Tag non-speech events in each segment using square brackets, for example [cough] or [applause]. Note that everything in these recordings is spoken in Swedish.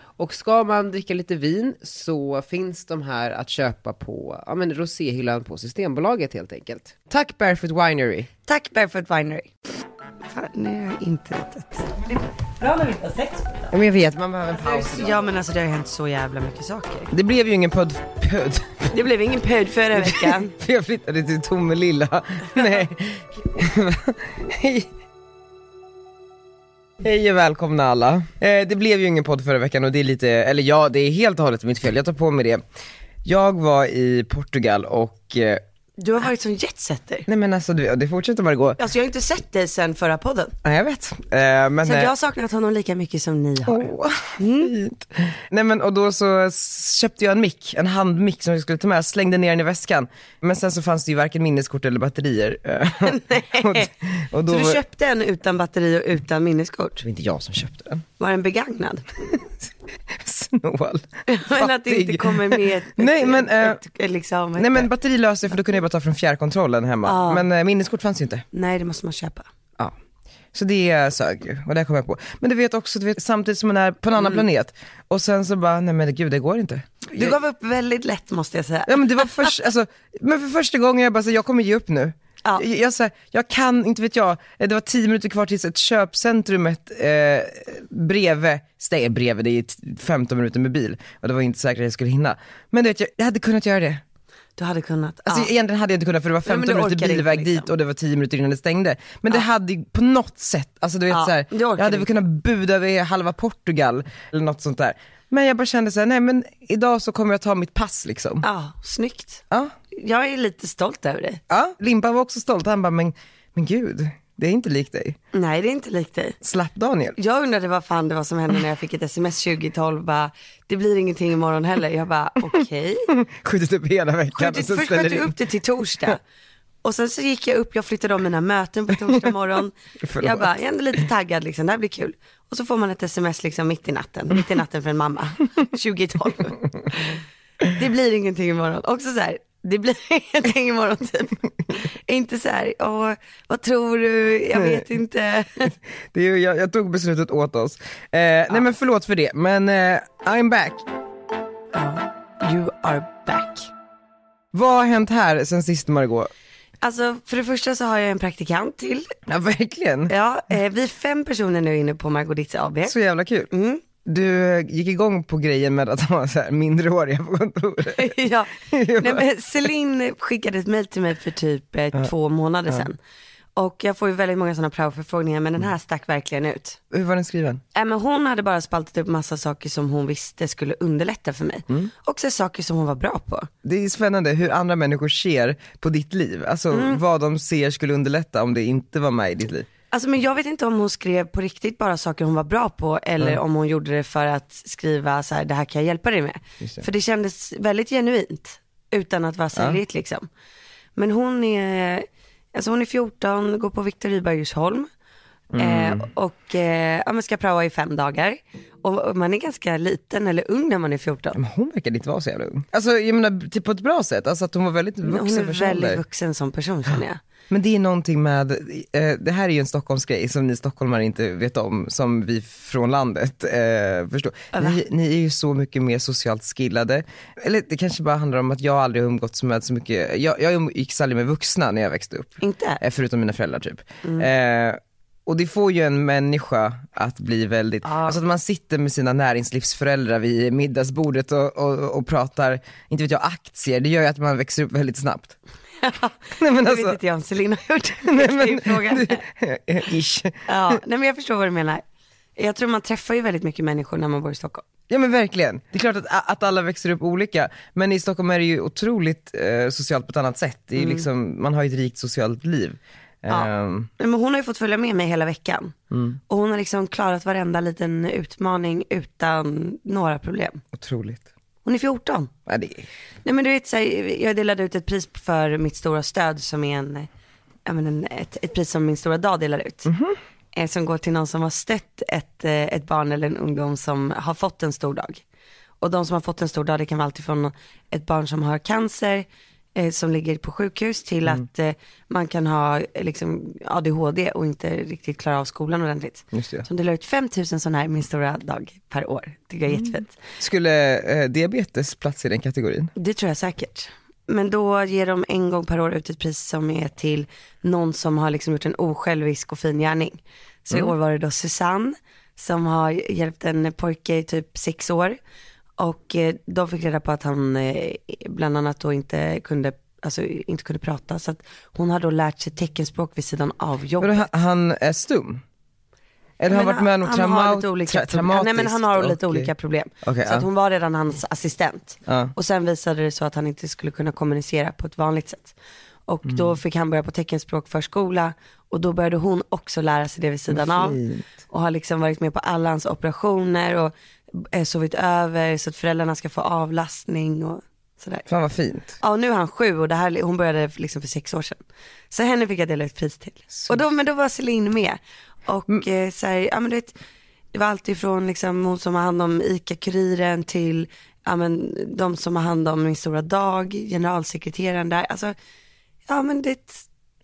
Och ska man dricka lite vin så finns de här att köpa på ja, men roséhyllan på Systembolaget helt enkelt. Tack Barefoot Winery! Tack Barefoot Winery. Fan, nu har jag inte rättat. Bra när vi inte har sex. Ja, men jag vet, man behöver en paus. Ja men alltså det har ju hänt så jävla mycket saker. Det blev ju ingen podd... podd. Det blev ingen pöjd förra veckan. För [laughs] jag flyttade till [laughs] Tomelilla. Nej. Hej. Hej och välkomna alla. Eh, det blev ju ingen podd förra veckan och det är lite, eller ja det är helt och hållet mitt fel, jag tar på mig det. Jag var i Portugal och, eh, [laughs] Du har varit som jetsetter. nej men alltså du, det fortsätter bara gå. Alltså jag har inte sett dig sen förra podden. Nej jag vet. Eh, men, Så att eh, jag har saknat honom lika mycket som ni har. Åh, Mm. fint. Nej men och då så s- köpte jag en mick, en handmick som jag skulle ta med, jag slängde ner den i väskan. Men sen så fanns det ju varken minneskort eller batterier. [laughs] Eh, [laughs] Nej. och, och då Så du var- köpte en utan batteri och utan minneskort? Det var inte jag som köpte den. [laughs] Var den begagnad? Snål. [laughs] Men att det inte Fattig. kommer med ett, [laughs] Nej, men, eh, ett, ett, liksom, Nej men batteri löste jag för då kunde jag bara ta från fjärrkontrollen hemma. Ja. Men eh, minneskort fanns ju inte. Nej det måste man köpa. Ja. Så det sög ju och det kom jag på. Men du vet också, du vet, samtidigt som man är på en Mm. annan planet och sen så bara, nej men gud det går inte. Du gav upp väldigt lätt måste jag säga. Ja men det var först, alltså, men för första gången jag bara så, här, jag kommer ge upp nu. Ja. Jag, jag, så här, jag kan, inte vet jag, Eh, det var tio minuter kvar tills ett köpcentrumet eh, bredvid, nej bredvid, det är t- 15 minuter med bil och det var inte säkert att jag skulle hinna. Men du vet, jag, jag hade kunnat göra det. Du hade kunnat. Alltså ja. egentligen hade jag inte kunnat för det var Nej, men 15 du minuter orkade bilväg inte, liksom. dit och det var 10 minuter innan det stängde. Men det hade ju på något sätt, alltså du vet Ja, så här, du jag orkade hade väl inte. kunnat buda över halva Portugal eller något sånt där. Men jag bara kände så här, nej men idag så kommer jag ta mitt pass liksom. ja, snyggt. Ja. Jag är lite stolt över dig. Ja, Limpan var också stolt. Han bara, men, men gud, det är inte likt dig. Nej det är inte likt dig. Slapp Daniel. Jag undrade vad fan det var som hände när jag fick ett sms 2012 bara, det blir ingenting imorgon heller. Jag bara [laughs] okej. [laughs] Skjutit upp hela veckan och Skjutit, så först ställer sköt det jag in. upp det [laughs] till torsdag. Och sen så gick jag upp, jag flyttade om mina möten på torsdag morgon. [laughs] Förlåt. jag bara, jag är ändå lite taggad liksom, det här blir kul. Och så får man ett sms liksom mitt i natten, mitt i natten för [laughs] en mamma, 2012. Det blir ingenting imorgon. Också så här, det blir [laughs] ingenting imorgon typ. Inte så här, åh, vad tror du, jag vet inte. Det är ju, jag, jag tog beslutet åt oss. Eh, Nej men förlåt för det, men eh, I'm back. You are back. Vad har hänt här sen sist Margot? Alltså för det första så har jag en praktikant till. Ja verkligen, Ja, eh, vi är fem personer nu inne på Margot Ditts AB. så jävla kul. Mm. Du eh, gick igång på grejen med att [laughs] ha så här minderåriga på [laughs] kontoret. [laughs] ja. Nej, men Celine skickade ett mejl till mig för typ eh, två månader sedan. Och jag får ju väldigt många sådana praoförfrågningar men den här stack verkligen ut. Hur var den skriven? Äh, men hon hade bara spaltat upp massa saker som hon visste skulle underlätta för mig. Och så saker som hon var bra på. Det är spännande hur andra människor ser på ditt liv. Alltså vad de ser skulle underlätta om det inte var med i ditt liv. Alltså men jag vet inte om hon skrev på riktigt bara saker hon var bra på eller om hon gjorde det för att skriva så här, det här kan jag hjälpa dig med. För det kändes väldigt genuint utan att vara säljigt liksom. Men hon är, alltså hon är 14, går på Viktor Rydberg i Djursholm. Eh, Mm. och eh, ja, men ska prova i fem dagar. Och, och man är ganska liten eller ung när man är 14. Men hon verkar inte vara så jävla ung. Alltså jag menar typ på ett bra sätt, alltså att hon var väldigt Hon är vuxen för sin väldigt ålder. vuxen som person känner jag. Men det är någonting med, eh, det här är ju en Stockholmsgrej som ni stockholmare inte vet om, som vi från landet eh, förstår. Ni, ni är ju så mycket mer socialt skillade. Eller det kanske bara handlar om att jag aldrig har umgåtts med så mycket, jag, jag umgicks aldrig med vuxna när jag växte upp. Inte? Eh, Förutom mina föräldrar typ. Mm. Eh, och det får ju en människa att bli väldigt, alltså att man sitter med sina näringslivsföräldrar vid middagsbordet och, och, och pratar, inte vet jag, aktier. Det gör ju att man växer upp väldigt snabbt. [laughs] Nej men Det alltså, vet inte jag om Celine har gjort. [laughs] nej [laughs] Det är ju men, frågan. [laughs] ish. Ja, [laughs] nej men jag förstår vad du menar. Jag tror man träffar ju väldigt mycket människor när man bor i Stockholm. Ja men verkligen. Det är klart att, att alla växer upp olika, men i Stockholm är det ju otroligt eh, socialt på ett annat sätt. Det är ju liksom, man har ju ett rikt socialt liv. Mm. Ja. Ehm, Nej, Men hon har ju fått följa med mig hela veckan. Och hon har liksom klarat varenda liten utmaning utan några problem. otroligt. Hon är 14. Ja, det är... Nej men du vet, så här, jag delade ut ett pris för mitt stora stöd som är en, ja, men en, ett, ett pris som min stora dag delar ut. Eh, Som går till någon som har stött ett, eh, ett barn eller en ungdom som har fått en stor dag. Och de som har fått en stor dag, det kan vara alltifrån ett barn som har cancer, eh, som ligger på sjukhus, till att eh, man kan ha eh, liksom, ADHD och inte riktigt klara av skolan ordentligt. Just det. Så de delar ut 5000 sådana här min stora dag per år. Tycker jag är jättefint. Skulle eh, diabetes plats i den kategorin? Det tror jag säkert. Men då ger de en gång per år ut ett pris som är till någon som har liksom gjort en osjälvisk och fin gärning. Så Mm. i år var det då Susanne som har hjälpt en pojke i typ sex år. Och eh, de fick reda på att han eh, bland annat då inte kunde, alltså, inte kunde prata. Så att hon har då lärt sig teckenspråk vid sidan av jobbet. Vadå, han- han är stum? Eller har Men varit med om han har trauma- lite olika tra- problem. traumatiskt? Nej men han har lite och- olika problem. Okej, så att ja. hon var redan hans assistent. Ja. Och sen visade det så att han inte skulle kunna kommunicera på ett vanligt sätt. Och Mm. då fick han börja på teckenspråkförskola och då började hon också lära sig det vid sidan Vad av. fint. Och har liksom varit med på alla hans operationer och eh, sovit över så att föräldrarna ska få avlastning och sådär. Fan vad fint. Ja, och nu är han sju och det här, hon började liksom för sex år sedan. Så henne fick jag dela ut pris till. Så- Mm. Och då, men då var Celine med. Och eh, så här, ja men du vet, det var allt ifrån liksom hon som har hand om ICA-Kuriren till ja, men, de som har hand om Min Stora Dag, generalsekreteraren där. Alltså, ja men det är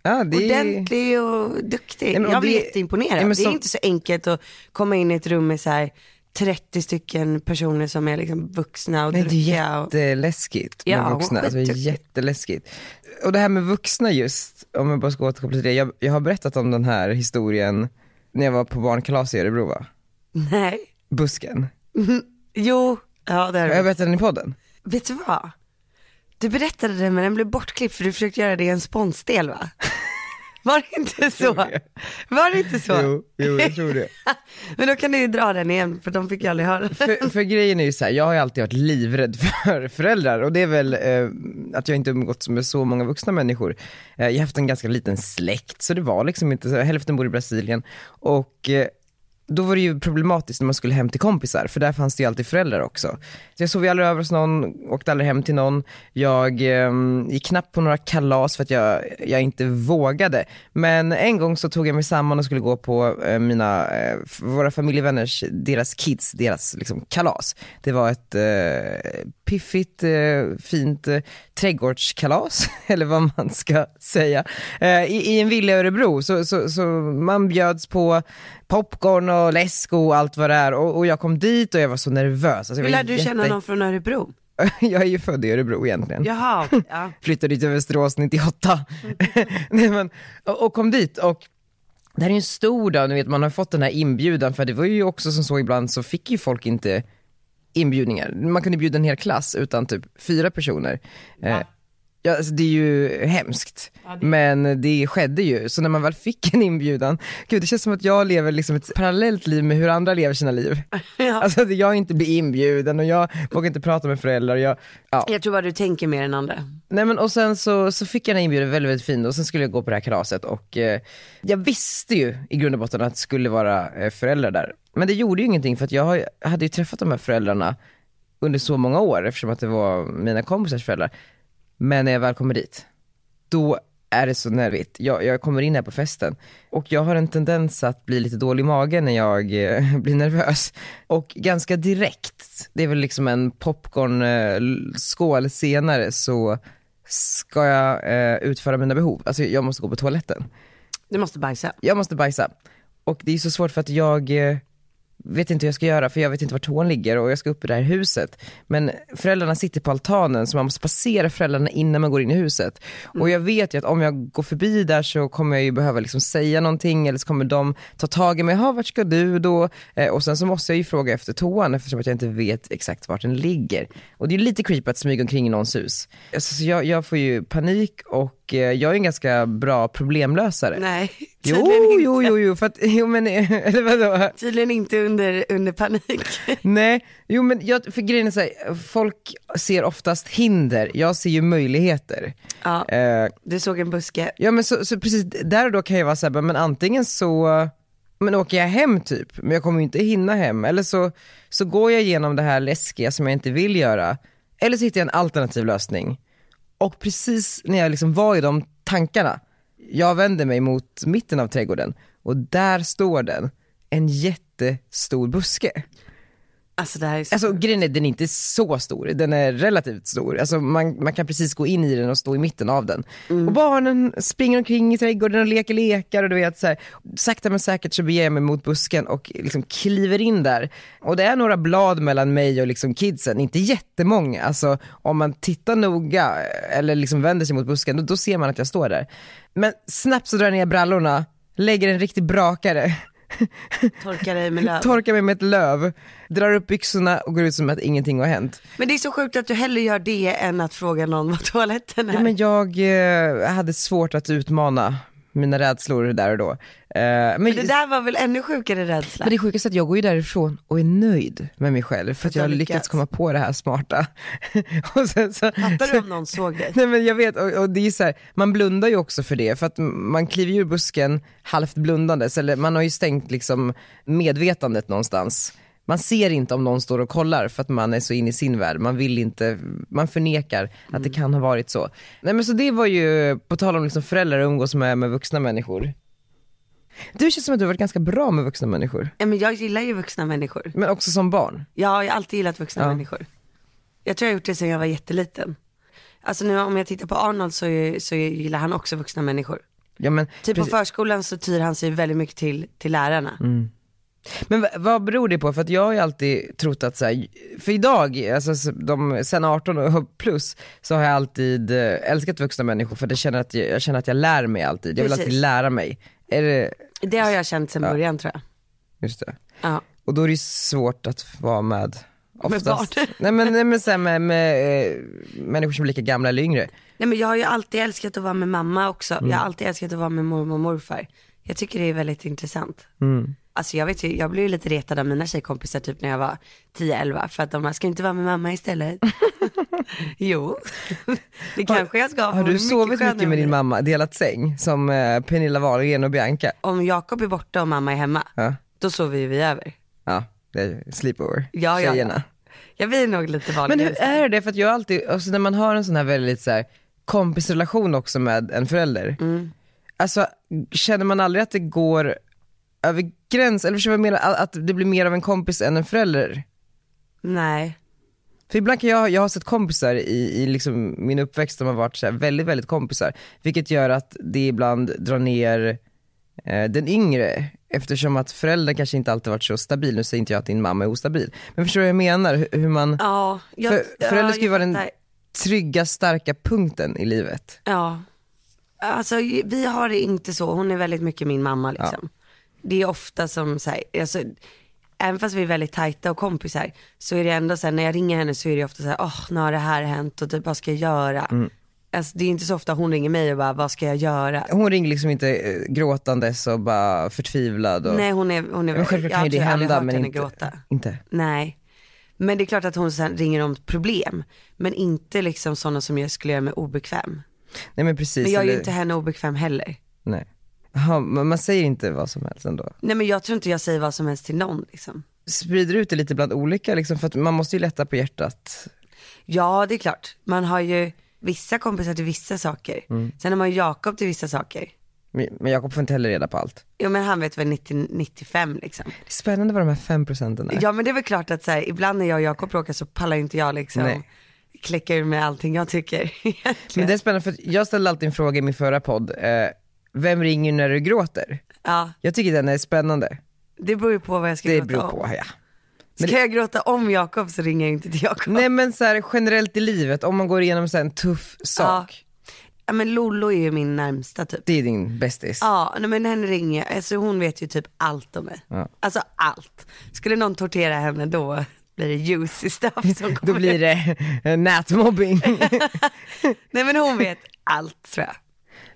Ja, det är... ordentlig och duktig. men och jag blev det- jätteimponerad. Ja, men Det är som- inte så enkelt att komma in i ett rum med så här 30 stycken personer som är liksom vuxna och Nej, det är dryga. Och... [laughs] jätteläskigt med Ja, hon vuxna. Alltså, det är skitduktig. jätteläskigt. Och det här med vuxna just, om jag bara ska återkoppla till det. Jag, jag har berättat om den här historien när jag var på barnkalas i Örebro va? Nej. Busken. Jo, ja det är Har det. jag berättat den i podden? Vet du vad? Du berättade det men den blev bortklippt för du försökte göra det i en [laughs] sponsdel va? Var det inte så? Var det inte så? Jo, jo, jag tror det. Men då kan du ju dra den igen för de fick jag aldrig höra. för, för grejen är ju så här, jag har ju alltid varit livrädd för föräldrar och det är väl eh, att jag inte umgåtts med så många vuxna människor. Eh, jag har haft en ganska liten släkt så det var liksom inte så, hälften bor i Brasilien och eh, då var det ju problematiskt när man skulle hem till kompisar för där fanns det ju alltid föräldrar också. Så jag sov ju aldrig över hos någon, åkte aldrig hem till någon. Jag eh, gick knappt på några kalas för att jag, jag inte vågade. Men en gång så tog jag mig samman och skulle gå på eh, mina, eh, f- våra familjevänners, deras kids, deras liksom, kalas. Det var ett eh, piffigt, eh, fint eh, trädgårdskalas, [laughs] eller vad man ska säga. Eh, i, I en villa i Örebro, så, så, så man bjöds på popcorn och läsk och allt vad det är. Och, och jag kom dit och jag var så nervös. Alltså, jag Hur var lärde du känna jätte- någon från Örebro? [laughs] jag är ju född i Örebro egentligen. Jaha, okej, [laughs] ja. Flyttade till Västerås 98. [laughs] Nej, men, och, och kom dit och det här är ju en stor dag, ni vet man har fått den här inbjudan för det var ju också som så ibland så fick ju folk inte inbjudningar. Man kunde bjuda en hel klass utan typ fyra personer. Eh, Ja, alltså det är ju hemskt. Men det skedde ju. Så när man väl fick en inbjudan, gud det känns som att jag lever liksom ett parallellt liv med hur andra lever sina liv. Ja. Alltså att jag inte blir inbjuden och jag vågar inte prata med föräldrar. och Jag, ja. Jag tror bara du tänker mer än andra. Nej men och sen så, så fick jag den här inbjudan väldigt, väldigt fin och sen skulle jag gå på det här kalaset och eh, jag visste ju i grund och botten att det skulle vara eh, föräldrar där. Men det gjorde ju ingenting för att jag har- hade ju träffat de här föräldrarna under så många år eftersom att det var mina kompisars föräldrar. Men när jag väl kommer dit, då är det så nervigt. Jag, jag kommer in här på festen och jag har en tendens att bli lite dålig i magen när jag eh, [laughs] blir nervös. Och ganska direkt, det är väl liksom en popcornskål senare så ska jag eh, utföra mina behov. Alltså jag måste gå på toaletten. Du måste bajsa. Jag måste bajsa. Och det är så svårt för att jag eh, vet inte hur jag ska göra för jag vet inte var toan ligger och jag ska upp i det här huset. Men föräldrarna sitter på altanen så man måste passera föräldrarna innan man går in i huset. Och jag vet ju att om jag går förbi där så kommer jag ju behöva liksom säga någonting eller så kommer de ta tag i mig, "Jaha, vart ska du då? Eh, och sen så måste jag ju fråga efter toan eftersom att jag inte vet exakt vart den ligger. Och det är ju lite creepy att smyga omkring i någons hus. Alltså, så jag, jag får ju panik och Och eh, jag är en ganska bra problemlösare. Nej, Jo, [laughs] tydligen inte. jo, jo, jo, för att, jo men, [laughs] eller vadå? Tydligen inte under, under panik. [laughs] Nej, jo men jag, för grejen är så här, folk ser oftast hinder, jag ser ju möjligheter. ja, Eh, du såg en buske. ja men så, så precis, där och då kan jag vara såhär, men antingen så men åker jag hem typ, men jag kommer ju inte hinna hem. Eller så, så går jag igenom det här läskiga som jag inte vill göra. Eller så hittar jag en alternativ lösning. Och precis när jag liksom var i de tankarna, jag vände mig mot mitten av trädgården och där står den, en jättestor buske. Alltså det här är så... Alltså grejen är, den är inte så stor, den är relativt stor. Alltså man, man kan precis gå in i den och stå i mitten av den. Och barnen springer omkring i trädgården och leker lekar och du vet så här. Sakta men säkert så beger jag mig mot busken och liksom kliver in där. Och det är några blad mellan mig och liksom kidsen, inte jättemånga. Alltså om man tittar noga eller liksom vänder sig mot busken, då, då ser man att jag står där. Men snabbt så drar jag ner brallorna, lägger en riktig brakare. [laughs] Alltså, Torka dig med löv. Torkar mig med ett löv, drar upp byxorna och går ut som att ingenting har hänt. Men det är så sjukt att du hellre gör det än att fråga någon vad toaletten är. Ja, men jag eh, hade svårt att utmana mina rädslor där och då. Eh, men, men, Det där var väl ännu sjukare rädsla? men det sjukaste är att jag går ju därifrån och är nöjd med mig själv för att du jag har har lyckats. lyckats. komma på det här smarta. [laughs] och sen, så, Fattar du om någon såg dig? [laughs] Nej men jag vet, och, och det är så här, man blundar ju också för det för att man kliver ju ur busken halvt blundandes, eller man har ju stängt liksom medvetandet någonstans. Man ser inte om någon står och kollar för att man är så inne i sin värld, man vill inte, man förnekar att det kan ha varit så. Nej men så det var ju, på tal om liksom föräldrar och umgås med, med vuxna människor. Du känns som att du har varit ganska bra med vuxna människor, Ja, men jag gillar ju vuxna människor. men också som barn. Ja, jag har alltid gillat vuxna människor. Jag tror jag har gjort det sedan jag var jätteliten. Alltså nu om jag tittar på Arnold så, är, så är, gillar han också vuxna människor. Ja, men, Typ precis. på förskolan så tyr han sig väldigt mycket till, till lärarna. Men v- vad beror det på? För att jag har ju alltid trott att så här, för idag, alltså s- de, sen 18 och plus, så har jag alltid eh, älskat vuxna människor för det känner att jag, jag känner att jag lär mig alltid. Jag vill Precis. alltid lära mig. Är det, Det har jag känt sedan början tror jag. just det. Ja. Och då är det ju svårt att vara med oftast. barn. Nej men, nej, men så här, med, med eh, människor som är lika gamla eller yngre. Nej men jag har ju alltid älskat att vara med mamma också. Mm. Jag har alltid älskat att vara med mormor och morfar. Jag tycker det är väldigt intressant. Mm. Alltså jag vet ju, jag blev ju lite retad av mina tjejkompisar typ när jag var 10-11 för att de bara, ska du inte vara med mamma istället? [laughs] jo, det kanske jag ska. för Har hon är du sovit skönare mycket än med din mig. mamma, delat säng, som eh, Pernilla Wahlgren och Bianca? Om Jakob är borta och mamma är hemma, Ja, då sover ju vi över. ja det är sleepover, Ja, ja, tjejerna. ja. Jag blir nog lite vanlig. Men hur är det? För att jag alltid, alltså när man har en sån här väldigt så här, kompisrelation också med en förälder. Alltså känner man aldrig att det går över gräns, eller förstår du vad jag menar? Att- Att det blir mer av en kompis än en förälder? Nej. För ibland kan jag, jag har sett kompisar i, i liksom min uppväxt som har varit så här väldigt, väldigt kompisar. Vilket gör att det ibland drar ner eh, den yngre. Eftersom att föräldern kanske inte alltid varit så stabil. Nu säger inte jag att din mamma är ostabil. Men förstår du vad jag menar? Hur, hur man... Ja, jag, För, ja, föräldrar ska ju jag vara den fattar. trygga, starka punkten i livet. Ja. Alltså vi har det inte så. Hon är väldigt mycket min mamma liksom. Det är ofta som så här, alltså, även fast vi är väldigt tajta och kompisar så är det ändå så här, när jag ringer henne så är det ofta så här, åh nu har det här hänt och typ vad ska jag göra? Mm. Alltså det är inte så ofta hon ringer mig och bara, vad ska jag göra? Hon ringer liksom inte eh, gråtandes och bara förtvivlad. Och... Nej hon är, hon är men självklart kan ju det jag har aldrig hända hört men henne inte, gråta. inte. Nej. Men det är klart att hon sen ringer om problem. Men inte liksom sådana som jag skulle göra mig obekväm. Nej men precis. Men jag är ju eller- inte henne obekväm heller. Nej. Ja, men man säger inte vad som helst ändå. Nej men jag tror inte jag säger vad som helst till någon liksom. Sprider ut det lite bland olika liksom, för att man måste ju lätta på hjärtat. Ja det är klart, man har ju vissa kompisar till vissa saker. Mm. Sen har man ju Jakob till vissa saker. Men men Jakob får inte heller reda på allt. Jo men han vet väl 90, 95 liksom. Det är spännande vad de här fem procenten är. Ja men det är väl klart att så här, ibland när jag och Jakob bråkar så pallar inte jag liksom Nej. kläcka ur med allting jag tycker. [laughs] men egentligen. det är spännande för att jag ställde alltid en fråga i min förra podd. Eh, vem ringer när du gråter? Ja, Jag tycker den är spännande. det beror ju på vad jag ska Det gråta beror om. på, ja. Ska jag gråta om Jakob så ringer jag inte till Jakob. Nej men så här, generellt i livet, om man går igenom så här, en tuff sak, Ja men Lollo är ju min närmsta typ. det är din bästis. Ja, nej, men henne ringer jag. Alltså hon vet ju typ allt om mig. Ja. Alltså allt. Skulle någon tortera henne då blir det juicy stuff som kommer. Då blir det eh, nätmobbing. [laughs] Nej men hon vet allt tror jag.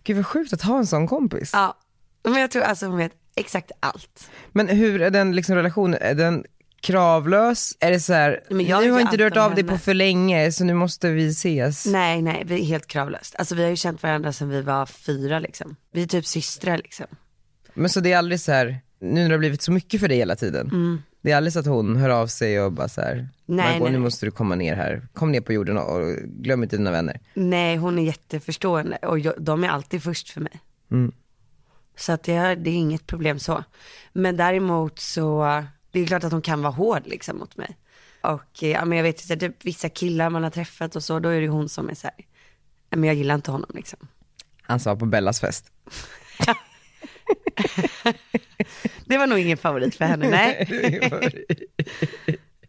Gud vad sjukt att ha en sån kompis. Ja, men jag tror alltså hon vet exakt allt. Men hur är den liksom relationen, är den kravlös? Är det så här, Men jag vet nu har ju inte du allt hört om av dig henne. Mm. på för länge så nu måste vi ses. Nej, nej, vi är helt kravlöst. Alltså vi har ju känt varandra sedan vi var fyra liksom. Vi är typ systrar liksom. Men så det är aldrig så här, nu när det har blivit så mycket för dig hela tiden. Det är aldrig så att hon hör av sig och bara så här, Margot Mm. nej, nu nej. måste du komma ner här, kom ner på jorden och och glöm inte dina vänner. Nej, hon är jätteförstående och jag, de är alltid först för mig. Så att det, är- det är inget problem så. Men däremot så, det är klart att hon kan vara hård liksom mot mig. Och eh, ja, men jag vet inte, typ vissa killar man har träffat och så, då är det hon som är så här, "Nej, men jag gillar inte honom liksom. Han sa på Bellas [laughs] fest. Det var nog ingen favorit för [laughs] henne, nej.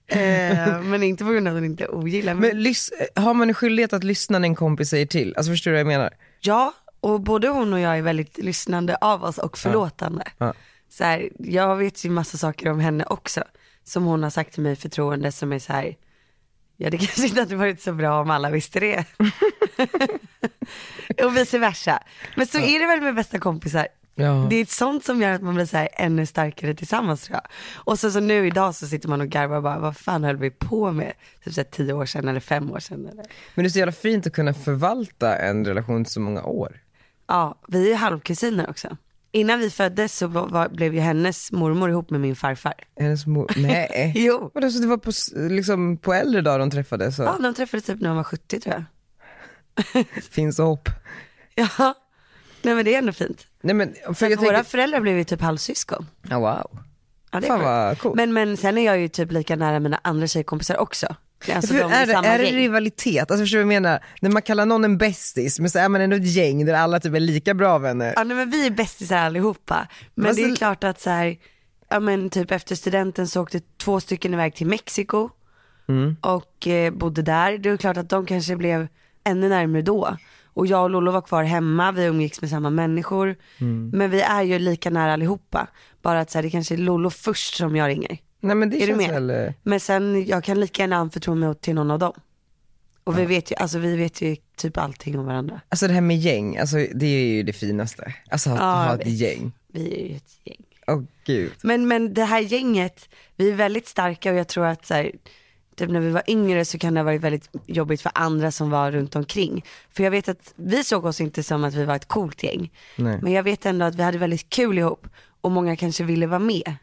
Eh, men inte på grund av att hon inte ogillar mig. Men lys- har man en skyldighet att lyssna när en kompis säger till? Alltså förstår du vad jag menar? Ja, och både hon och jag är väldigt lyssnande av oss och förlåtande. Ja. Så här, jag vet ju massa saker om henne också, som hon har sagt till mig i förtroende som är så här, ja det [laughs] kanske inte hade varit så bra om alla [laughs] visste det. och vice versa. Men så är det väl med bästa kompisar. Ja. Det är sånt som gör att man blir så här ännu starkare tillsammans tror jag. Och så, så nu idag så sitter man och garvar och bara, vad fan höll vi på med? Typ så här, tio år sedan eller fem år sedan. Eller? Men det är så jävla fint att kunna förvalta en relation så många år. Ja, vi är ju halvkusiner också. Innan vi föddes så var, var, blev ju hennes mormor ihop med min farfar. Hennes [laughs] mor, nej. Jo. Vadå, så det var på, s- liksom, på äldre dagar de träffades? Så. Ja, de träffades typ när de var 70 tror jag. Finns hopp. Ja, nej men det är ändå fint. Nej men, för För jag våra tänker, föräldrar blev ju typ halvsyskon. Ja, wow. Ja, det är Fan sjukt. vad coolt. men, men sen är jag ju typ lika nära mina andra tjejkompisar också. Alltså För de är i det, samma är det gäng. rivalitet? Alltså förstår du vad jag menar? När man kallar någon en bästis, men så är man ändå ett gäng där alla typ är lika bra vänner. Ja nej, men vi är bästisar allihopa. Men Alltså- det är klart att så här, ja men typ efter studenten så åkte två stycken iväg till Mexiko och eh, bodde där. Det är klart att de kanske blev ännu närmare då. Och jag och Lollo var kvar hemma, vi umgicks med samma människor. Men vi är ju lika nära allihopa. Bara att så här, det kanske är Lollo först som jag ringer. Nej men det Är du känns med? väl... eh, Men sen, jag kan lika gärna anförtro mig åt till någon av dem. Och vi vet ju, alltså vi vet ju typ allting om varandra. Alltså det här med gäng, alltså det är ju det finaste. Alltså att Ja, ha jag ett vet. gäng. Vi är ju ett gäng. Åh gud. Men, men det här gänget, vi är väldigt starka och jag tror att så här, typ när vi var yngre så kan det ha varit väldigt jobbigt för andra som var runt omkring. För jag vet att vi såg oss inte som att vi var ett coolt gäng. Nej. Men jag vet ändå att vi hade väldigt kul ihop och många kanske ville vara med.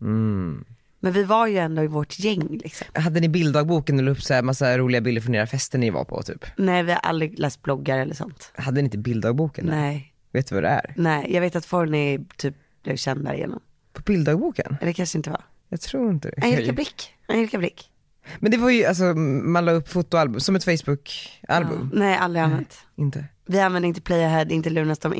Mm. Men vi var ju ändå i vårt gäng liksom. Hade ni bilddagboken och la upp så här massa roliga bilder från era fester ni var på typ? Nej vi har aldrig läst bloggar eller sånt. Hade ni inte bilddagboken? där? Nej, Vet du vad det är? nej. Jag vet att Forni typ blev känd därigenom. På bilddagboken? Eller det kanske inte var. Jag tror inte det. Angelica Blick. Angelica Blick. Men det var ju, alltså man la upp fotoalbum, som ett Facebook-album. Nej, aldrig använt. Inte. [laughs] Mm, liksom. liksom typ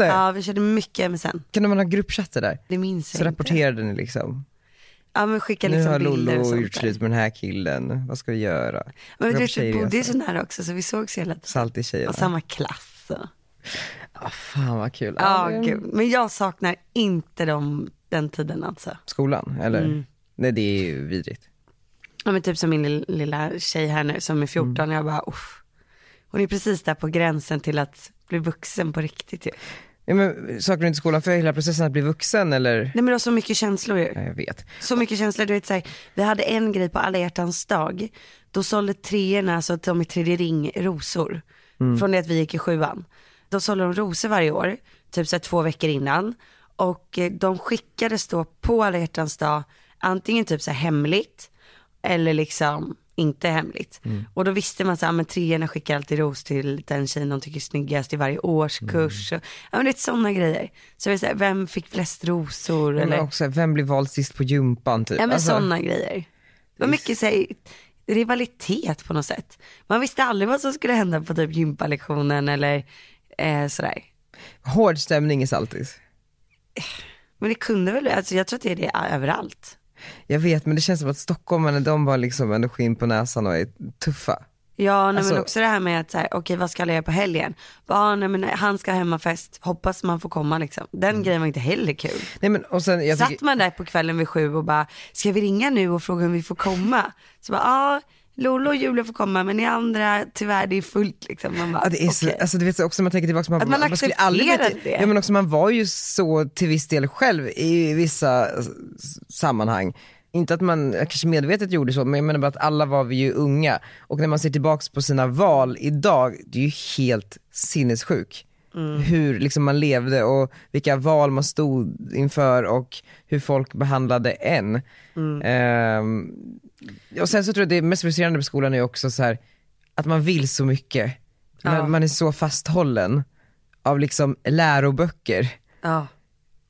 Ah, alltså. typ typ? Alltså, liksom Alltså- alltså typ eh, typ liksom typ eh, alltså Ja, nej, men också det här med att så här, okej vad ska alla göra på helgen? Bara, ah, nej, men han ska ha hemmafest, hoppas man får komma liksom. Den grejen var inte heller kul. Nej men och sen, Mm. jag Satt tycker, man där på kvällen vid sju och bara, ska vi ringa nu och fråga om vi får komma? Så bara, ja, ah, Lolo och Julia får komma men ni andra, tyvärr det är fullt liksom. Man bara, ja, det är så, okej. alltså du vet så också när man tänker tillbaka, man, Att man skulle aldrig bli- accepterade det. Ja men också man var ju så till viss del själv i vissa s- s- sammanhang. Inte att man kanske medvetet gjorde så, men jag menar bara att alla var vi ju unga. Och när man ser tillbaks på sina val idag, det är ju helt sinnessjuk. Mm. Hur liksom man levde och vilka val man stod inför och hur folk behandlade en. Mm. Ehm, och sen så tror jag det mest frustrerande med skolan är också så här att man vill så mycket. Man, Ja. man är så fasthållen av liksom läroböcker Ja,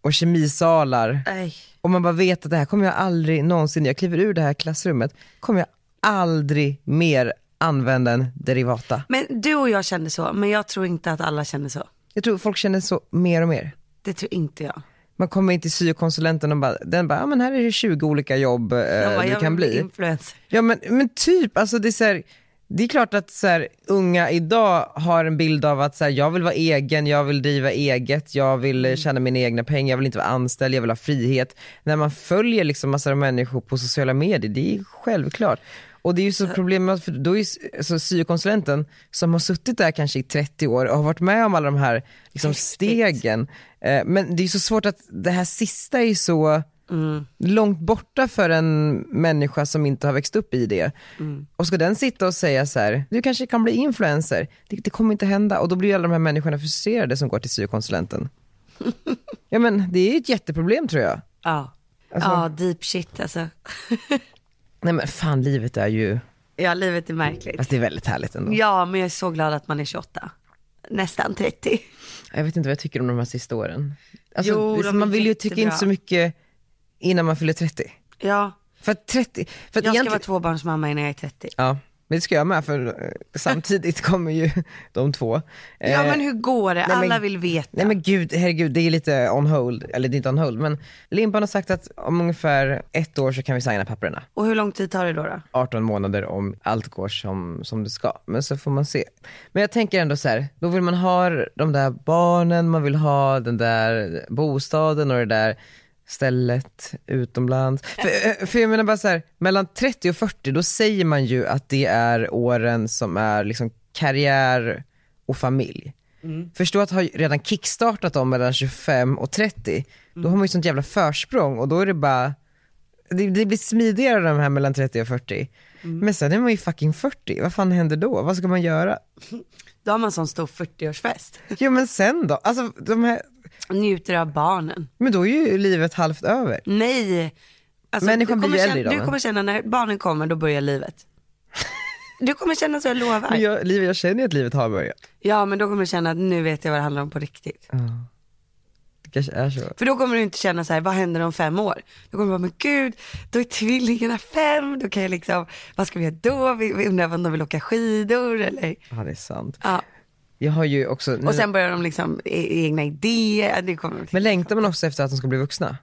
och kemisalar. nej. Och man bara vet att det här kommer jag aldrig någonsin, jag kliver ur det här klassrummet, kommer jag aldrig mer använda en derivata. Men du och jag kände så, men jag tror inte att alla känner så. Jag tror folk känner så mer och mer. Det tror inte jag. Man kommer in till syokonsulenten och bara, den bara, ja men här är det 20 olika jobb eh, jag bara, du jag kan vill bli. Influencer. Ja men, men typ, alltså det är så här, det är klart att så här, unga idag har en bild av att så här, jag vill vara egen, jag vill driva eget, jag vill eh, tjäna mina egna pengar, jag vill inte vara anställd, jag vill ha frihet. När man följer liksom massor av människor på sociala medier, det är självklart. Och det är ju så problem med, för då är s- alltså, syokonsulenten som har suttit där kanske i 30 år och har varit med om alla de här liksom, stegen. Eh, Men det är ju så svårt att det här sista är ju så, Mm. långt borta för en människa som inte har växt upp i det. Mm. Och ska den sitta och säga så här, du kanske kan bli influencer, det, det kommer inte hända. Och då blir ju alla de här människorna frustrerade som går till [laughs] syokonsulenten. ja men det är ju ett jätteproblem tror jag. Ja. ja, deep shit alltså. Nej men fan livet är ju, ja, livet är märkligt. alltså det är väldigt härligt ändå. Ja, men jag är så glad att man är 28. Nästan 30. Jag vet inte vad jag tycker om de här sista åren. Alltså, Jo, det- de är man vill ju tycka jättebra. inte så mycket innan man fyller 30. Ja, För att 30, för att jag ska egentligen... vara tvåbarnsmamma innan jag är 30. Ja, men det ska jag med för eh, samtidigt kommer ju de två. Ja, Eh, men hur går det? nej, men- Alla vill veta. Nej men gud, herregud, det är lite on hold, eller det är inte on hold, men Limpan har sagt att om ungefär ett år så kan vi signa papperna. Och hur lång tid tar det då? då? 18 månader om allt går som, som det ska, men så får man se. Men jag tänker ändå så här, då vill man ha de där barnen, man vill ha den där bostaden och det där stället utomlands. För, eh, för jag menar bara så här, mellan 30 och 40 då säger man ju att det är åren som är liksom karriär och familj. Förstå att ha redan kickstartat dem mellan 25 och 30, då har man ju sånt jävla försprång och då är det bara det, det blir smidigare de här mellan 30 och 40. Mm. Men sen är man ju fucking 40, vad fan händer då? Vad ska man göra? Då har man sån stor 40-årsfest. Jo men sen då? Alltså, de här, Njuter av barnen. men då är ju livet halvt över. Nej. Alltså, Människan du kommer blir ju känna, äldre idag, Du va? kommer känna när barnen kommer, då börjar livet. Du kommer känna så, jag lovar. Men jag, livet, jag känner ju att livet har börjat. Ja, men då kommer du känna att nu vet jag vad det handlar om på riktigt. Det kanske är så. För då kommer du inte känna så här, vad händer om fem år? Då kommer du bara, men gud, då är tvillingarna fem, då kan jag liksom, vad ska vi göra då? Vi, vi undrar om de vill åka skidor eller, Ja det är sant. ja. Jag har ju också, nu, Och sen börjar de liksom e- egna idéer, ja, det kommer men längtar man också efter att de ska bli vuxna?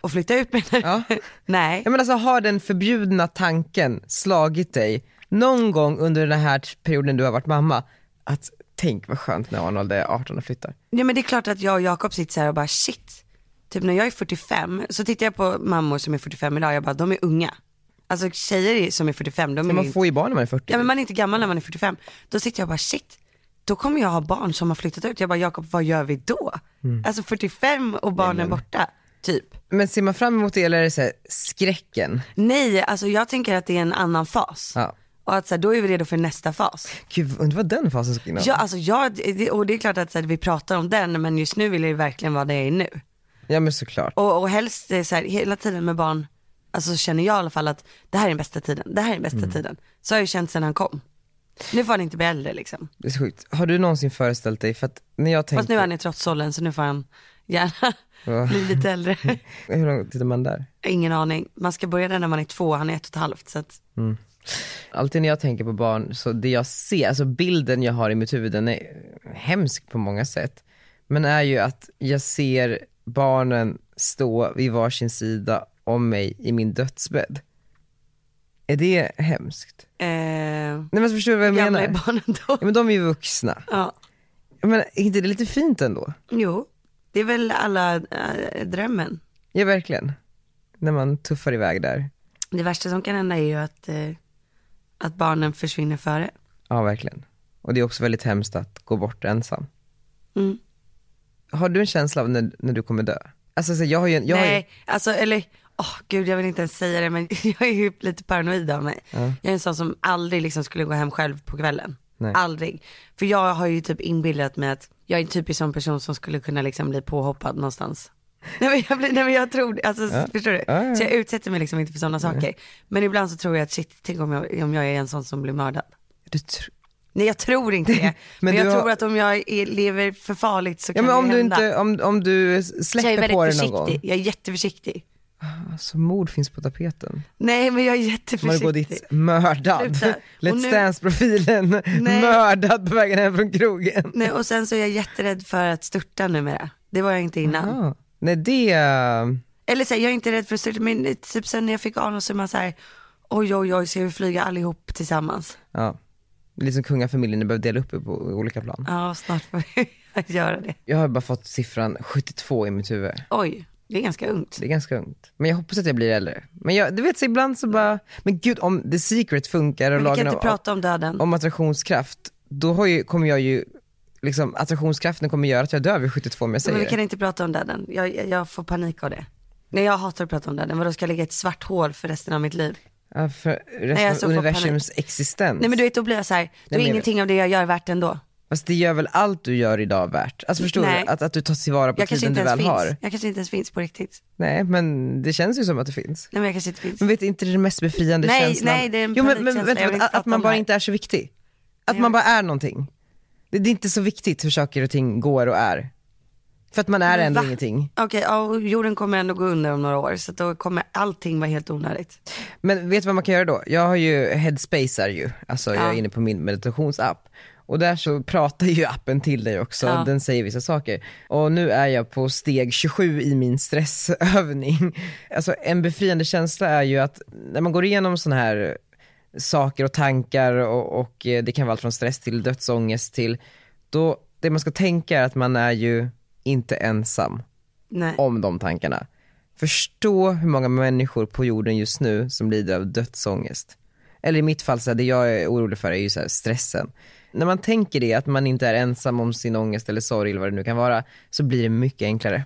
och flytta ut med [laughs] Ja. Nej, Jag menar alltså har den förbjudna tanken slagit dig någon gång under den här perioden du har varit mamma, att tänk vad skönt när Arnold är 18 och flyttar. Nej men det är klart att jag och Jakob sitter så här och bara shit, typ när jag är 45 så tittar jag på mammor som är 45 idag, jag bara de är unga. Alltså tjejer som är 45, de är Men ju man inte, får ju barn när man är 40. ja, men man är inte gammal när man är 45. Då sitter jag och bara shit, då kommer jag ha barn som har flyttat ut. Jag bara Jakob vad gör vi då? Alltså 45 och barnen borta, typ. Men ser man fram emot det eller är det så här, skräcken? Nej, alltså jag tänker att det är en annan fas. Ja. Och att så här, då är vi redo för nästa fas. Gud, undrar vad den fasen skulle innehålla. Ja, alltså jag, det- och det är klart att så här, vi pratar om den, men just nu vill jag ju verkligen vara där jag är nu. Ja men såklart. Och, och helst eh, så här, hela tiden med barn, alltså så känner jag i alla fall att det här är den bästa tiden, det här är den bästa tiden. Så har jag ju känt sedan han kom. Nu får han inte bli äldre liksom. Det är så sjukt. Har du någonsin föreställt dig, för att när jag Fast nu är tänker, han i trotsåldern så nu får han gärna [laughs] Ja. bli [laughs] lite äldre. hur lång tid är man där? Ingen aning, man ska börja den när man är två, han är ett och ett halvt. Så att, Alltid när jag tänker på barn, så det jag ser, alltså bilden jag har i mitt huvud den är hemsk på många sätt. Men är ju att jag ser barnen stå vid varsin sida om mig i min dödsbädd. Är det hemskt? Eh, Nej men förstår du vad jag gamla menar? är barnen då. [laughs] Ja, men de är ju vuxna. Ja. Men är inte det lite fint ändå? Jo, det är väl alla eh, drömmen. Ja verkligen. När man tuffar iväg där. Det värsta som kan hända är ju att, eh, att barnen försvinner före. Ja verkligen. Och det är också väldigt hemskt att gå bort ensam. Mm. Har du en känsla av när, när du kommer dö? Alltså så jag har ju en, jag har ju, Nej, alltså eller, åh gud jag vill inte ens säga det men [laughs] jag är ju lite paranoid av mig. Jag är en sån som aldrig liksom skulle gå hem själv på kvällen. Nej. Aldrig. För jag har ju typ inbillat mig att jag är en typisk sån person som skulle kunna liksom bli påhoppad någonstans. [laughs] Nej men jag, blir, nej, men jag tror det, alltså förstår du? Ja, ja. Så jag utsätter mig liksom inte för sådana saker. Men ibland så tror jag att shit, tänk om jag, om jag är en sån som blir mördad. du tr- Nej jag tror inte det. men, [laughs] Men jag du har- tror att om jag är, lever för farligt så Ja kan men om det du, hända. inte, om, om du så jag är släpper på det väldigt någon försiktig, gång. jag är jätteförsiktig. Alltså mord finns på tapeten. Nej men jag är jätteförsiktig. Margot Ditz mördad. Sluta. Och [laughs] Let's nu- Dance-profilen mördad på vägen hem från krogen. Nej, och sen så är jag jätterädd för att störta numera. Det var jag inte innan. Ja. Ah. Nej det, eh, Eller så här, jag är inte rädd för att störta, men typ sen när jag fick anus så är man så här, oj oj oj, ska vi flyga allihop tillsammans? ja. Det är liksom kungafamiljen, ni behöver dela upp er på olika plan. Ja, snart får jag [laughs] göra det. Jag har bara fått siffran 72 i mitt huvud. Oj, det är ganska ungt. Det är ganska ungt. Men jag hoppas att jag blir äldre. Men jag, du vet så ibland så bara, men gud om The Secret funkar och Men vi lagen kan inte om, prata om döden. om attraktionskraft, då har ju, kommer jag ju, liksom attraktionskraften kommer göra att jag dör vid 72 om jag säger Men vi det. kan inte prata om döden. Jag, jag- jag får panik av det. Nej, jag hatar att prata om döden. Vadå, ska jag lägga ett svart hål för resten av mitt liv? Ja, för resten Nej, alltså, av får universums existens. Nej men du vet, då blir jag så här, då men är jag ingenting av det jag gör värt ändå. Fast det gör väl allt du gör idag värt? Alltså förstår Nej. du? Att, att du tar tillvara på Jag kanske tiden inte du ens väl finns. har. Jag kanske inte ens finns på riktigt. Nej men det känns ju som att det finns. Nej men jag kanske inte finns. Men vet inte det är den mest befriande Nej, känslan? nej, det är en jo, men, men, panikkänsla. vänta, Jag vill vänta, inte att, att prata om man det bara här. inte är så viktig. Att jag man bara är någonting. Det, det är inte så viktigt hur saker och ting går och är. För att man är ändå va? ingenting. Okej, ja, och jorden kommer ändå gå under om några år så att då kommer allting vara helt onödigt. Men vet du vad man kan göra då? Jag har ju Headspace är ju, alltså jag är Ja. inne på min meditationsapp. Och där så pratar ju appen till dig också, Ja. den säger vissa saker. Och nu är jag på steg 27 i min stressövning. Alltså en befriande känsla är ju att när man går igenom sådana här saker och tankar och, och eh, det kan vara allt från stress till dödsångest till, då det man ska tänka är att man är ju inte ensam Nej. om de tankarna. Förstå hur många människor på jorden just nu som lider av dödsångest. Eller i mitt fall, så här, det jag är orolig för är ju så här, stressen. När man tänker det, att man inte är ensam om sin ångest eller sorg eller vad det nu kan vara, så blir det mycket enklare.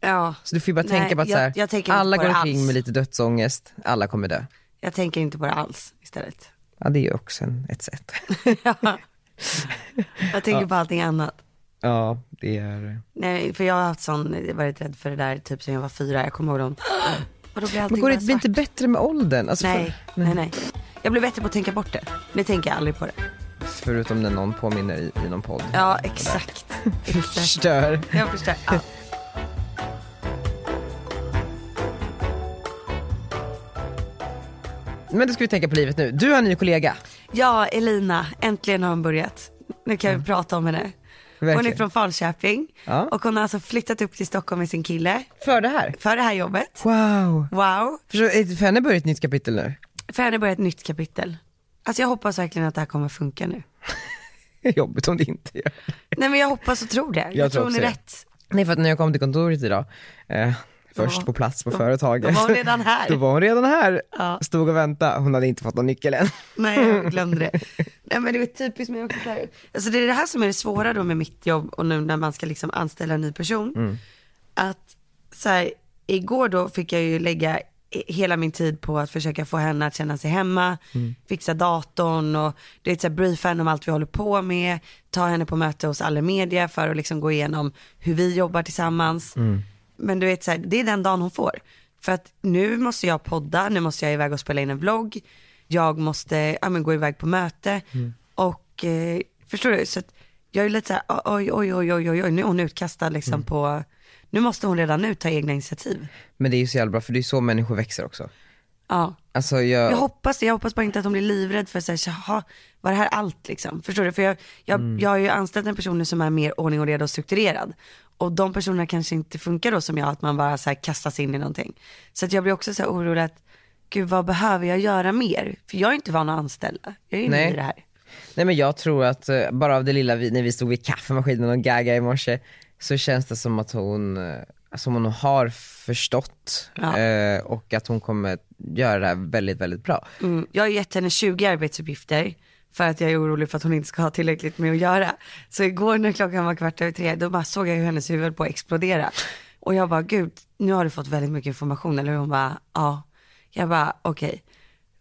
Ja, Så du får ju bara Nej, tänka på att jag- så här, jag tänker inte alla på går det omkring alls. med lite dödsångest, alla kommer dö. jag tänker inte på det alls istället. [laughs] Ja, det är ju också en, ett sätt. Jag tänker på allting annat. [laughs] ja, det är... Nej, för jag har haft sån, jag har varit rädd för det där typ sen jag var fyra, jag kommer ihåg [gasps] dem. Och då blir allting Men går det bara blir svart. inte bättre med åldern? Alltså, Nej, nej, nej. Jag blir bättre på att tänka bort det. Nu tänker jag aldrig på det. för, förutom när någon påminner i, i någon podd. Ja, [laughs] exakt. exakt. Förstör. Jag förstår allt. Men då ska vi tänka på livet nu. Du har en ny kollega. Ja, Elina, äntligen har hon börjat. Nu kan vi prata om henne. Hon är Verkligen. från Falköping Ja. och hon har alltså flyttat upp till Stockholm med sin kille För det här? för det här jobbet. Wow. Wow. För, för henne börjar ett nytt kapitel nu. [laughs] För henne börjar ett nytt kapitel. Alltså jag hoppas verkligen att det här kommer funka nu. Jobbigt om det inte gör. Nej men jag hoppas och tror det. Jag, tror tror hon är också det. rätt. Nej för att när jag kom till kontoret idag, eh, först var- på plats på då- företaget. då [laughs] var hon redan här. Då var hon redan här. Ja. Stod och väntade, hon hade inte fått någon nyckel än. [laughs] Nej jag glömde det. Nej men det är typiskt mig också. så här. Alltså det är det här som är det svåra då med mitt jobb och nu när man ska liksom anställa en ny person. Mm. Att så här, igår då fick jag ju lägga i- hela min tid på att försöka få henne att känna sig hemma, fixa datorn och du vet, så här, briefa henne om allt vi håller på med, ta henne på möte hos Allermedia för att liksom gå igenom hur vi jobbar tillsammans. Men du vet så här, det är den dagen hon får. För att nu måste jag podda, nu måste jag iväg och spela in en vlogg, jag måste ja, men, gå iväg på möte och eh, förstår du? Så att jag är lite så här, "Ah, oj, oj, oj, oj, oj, oj, nu är hon utkastad liksom på, nu måste hon redan nu ta egna initiativ. Men det är ju så jävla bra för det är så människor växer också. Ja. Alltså jag, Jag hoppas det, jag hoppas bara inte att hon blir livrädd för såhär, jaha, var det här allt liksom? Förstår du? För jag, jag, jag har ju anställt en person nu som är mer ordning och reda och strukturerad. Och de personerna kanske inte funkar då som jag, att man bara så här kastas in i någonting. Så att jag blir också så här orolig att gud vad behöver jag göra mer? För jag är inte van att anställa, jag är ju ny Nej. i det här. Nej men jag tror att eh, bara av det lilla vi, när vi stod vid kaffemaskinen och gaga i morse så känns det som att hon, eh, som hon har förstått Ja. eh, och att hon kommer göra det här väldigt, väldigt bra. Mm, jag har gett henne 20 arbetsuppgifter för att jag är orolig för att hon inte ska ha tillräckligt med att göra. Så igår när klockan var kvart över tre, då bara såg jag hur hennes huvud på att explodera. Och jag bara, gud, nu har du fått väldigt mycket information, eller hur? Hon bara, ja. Jag bara, okej.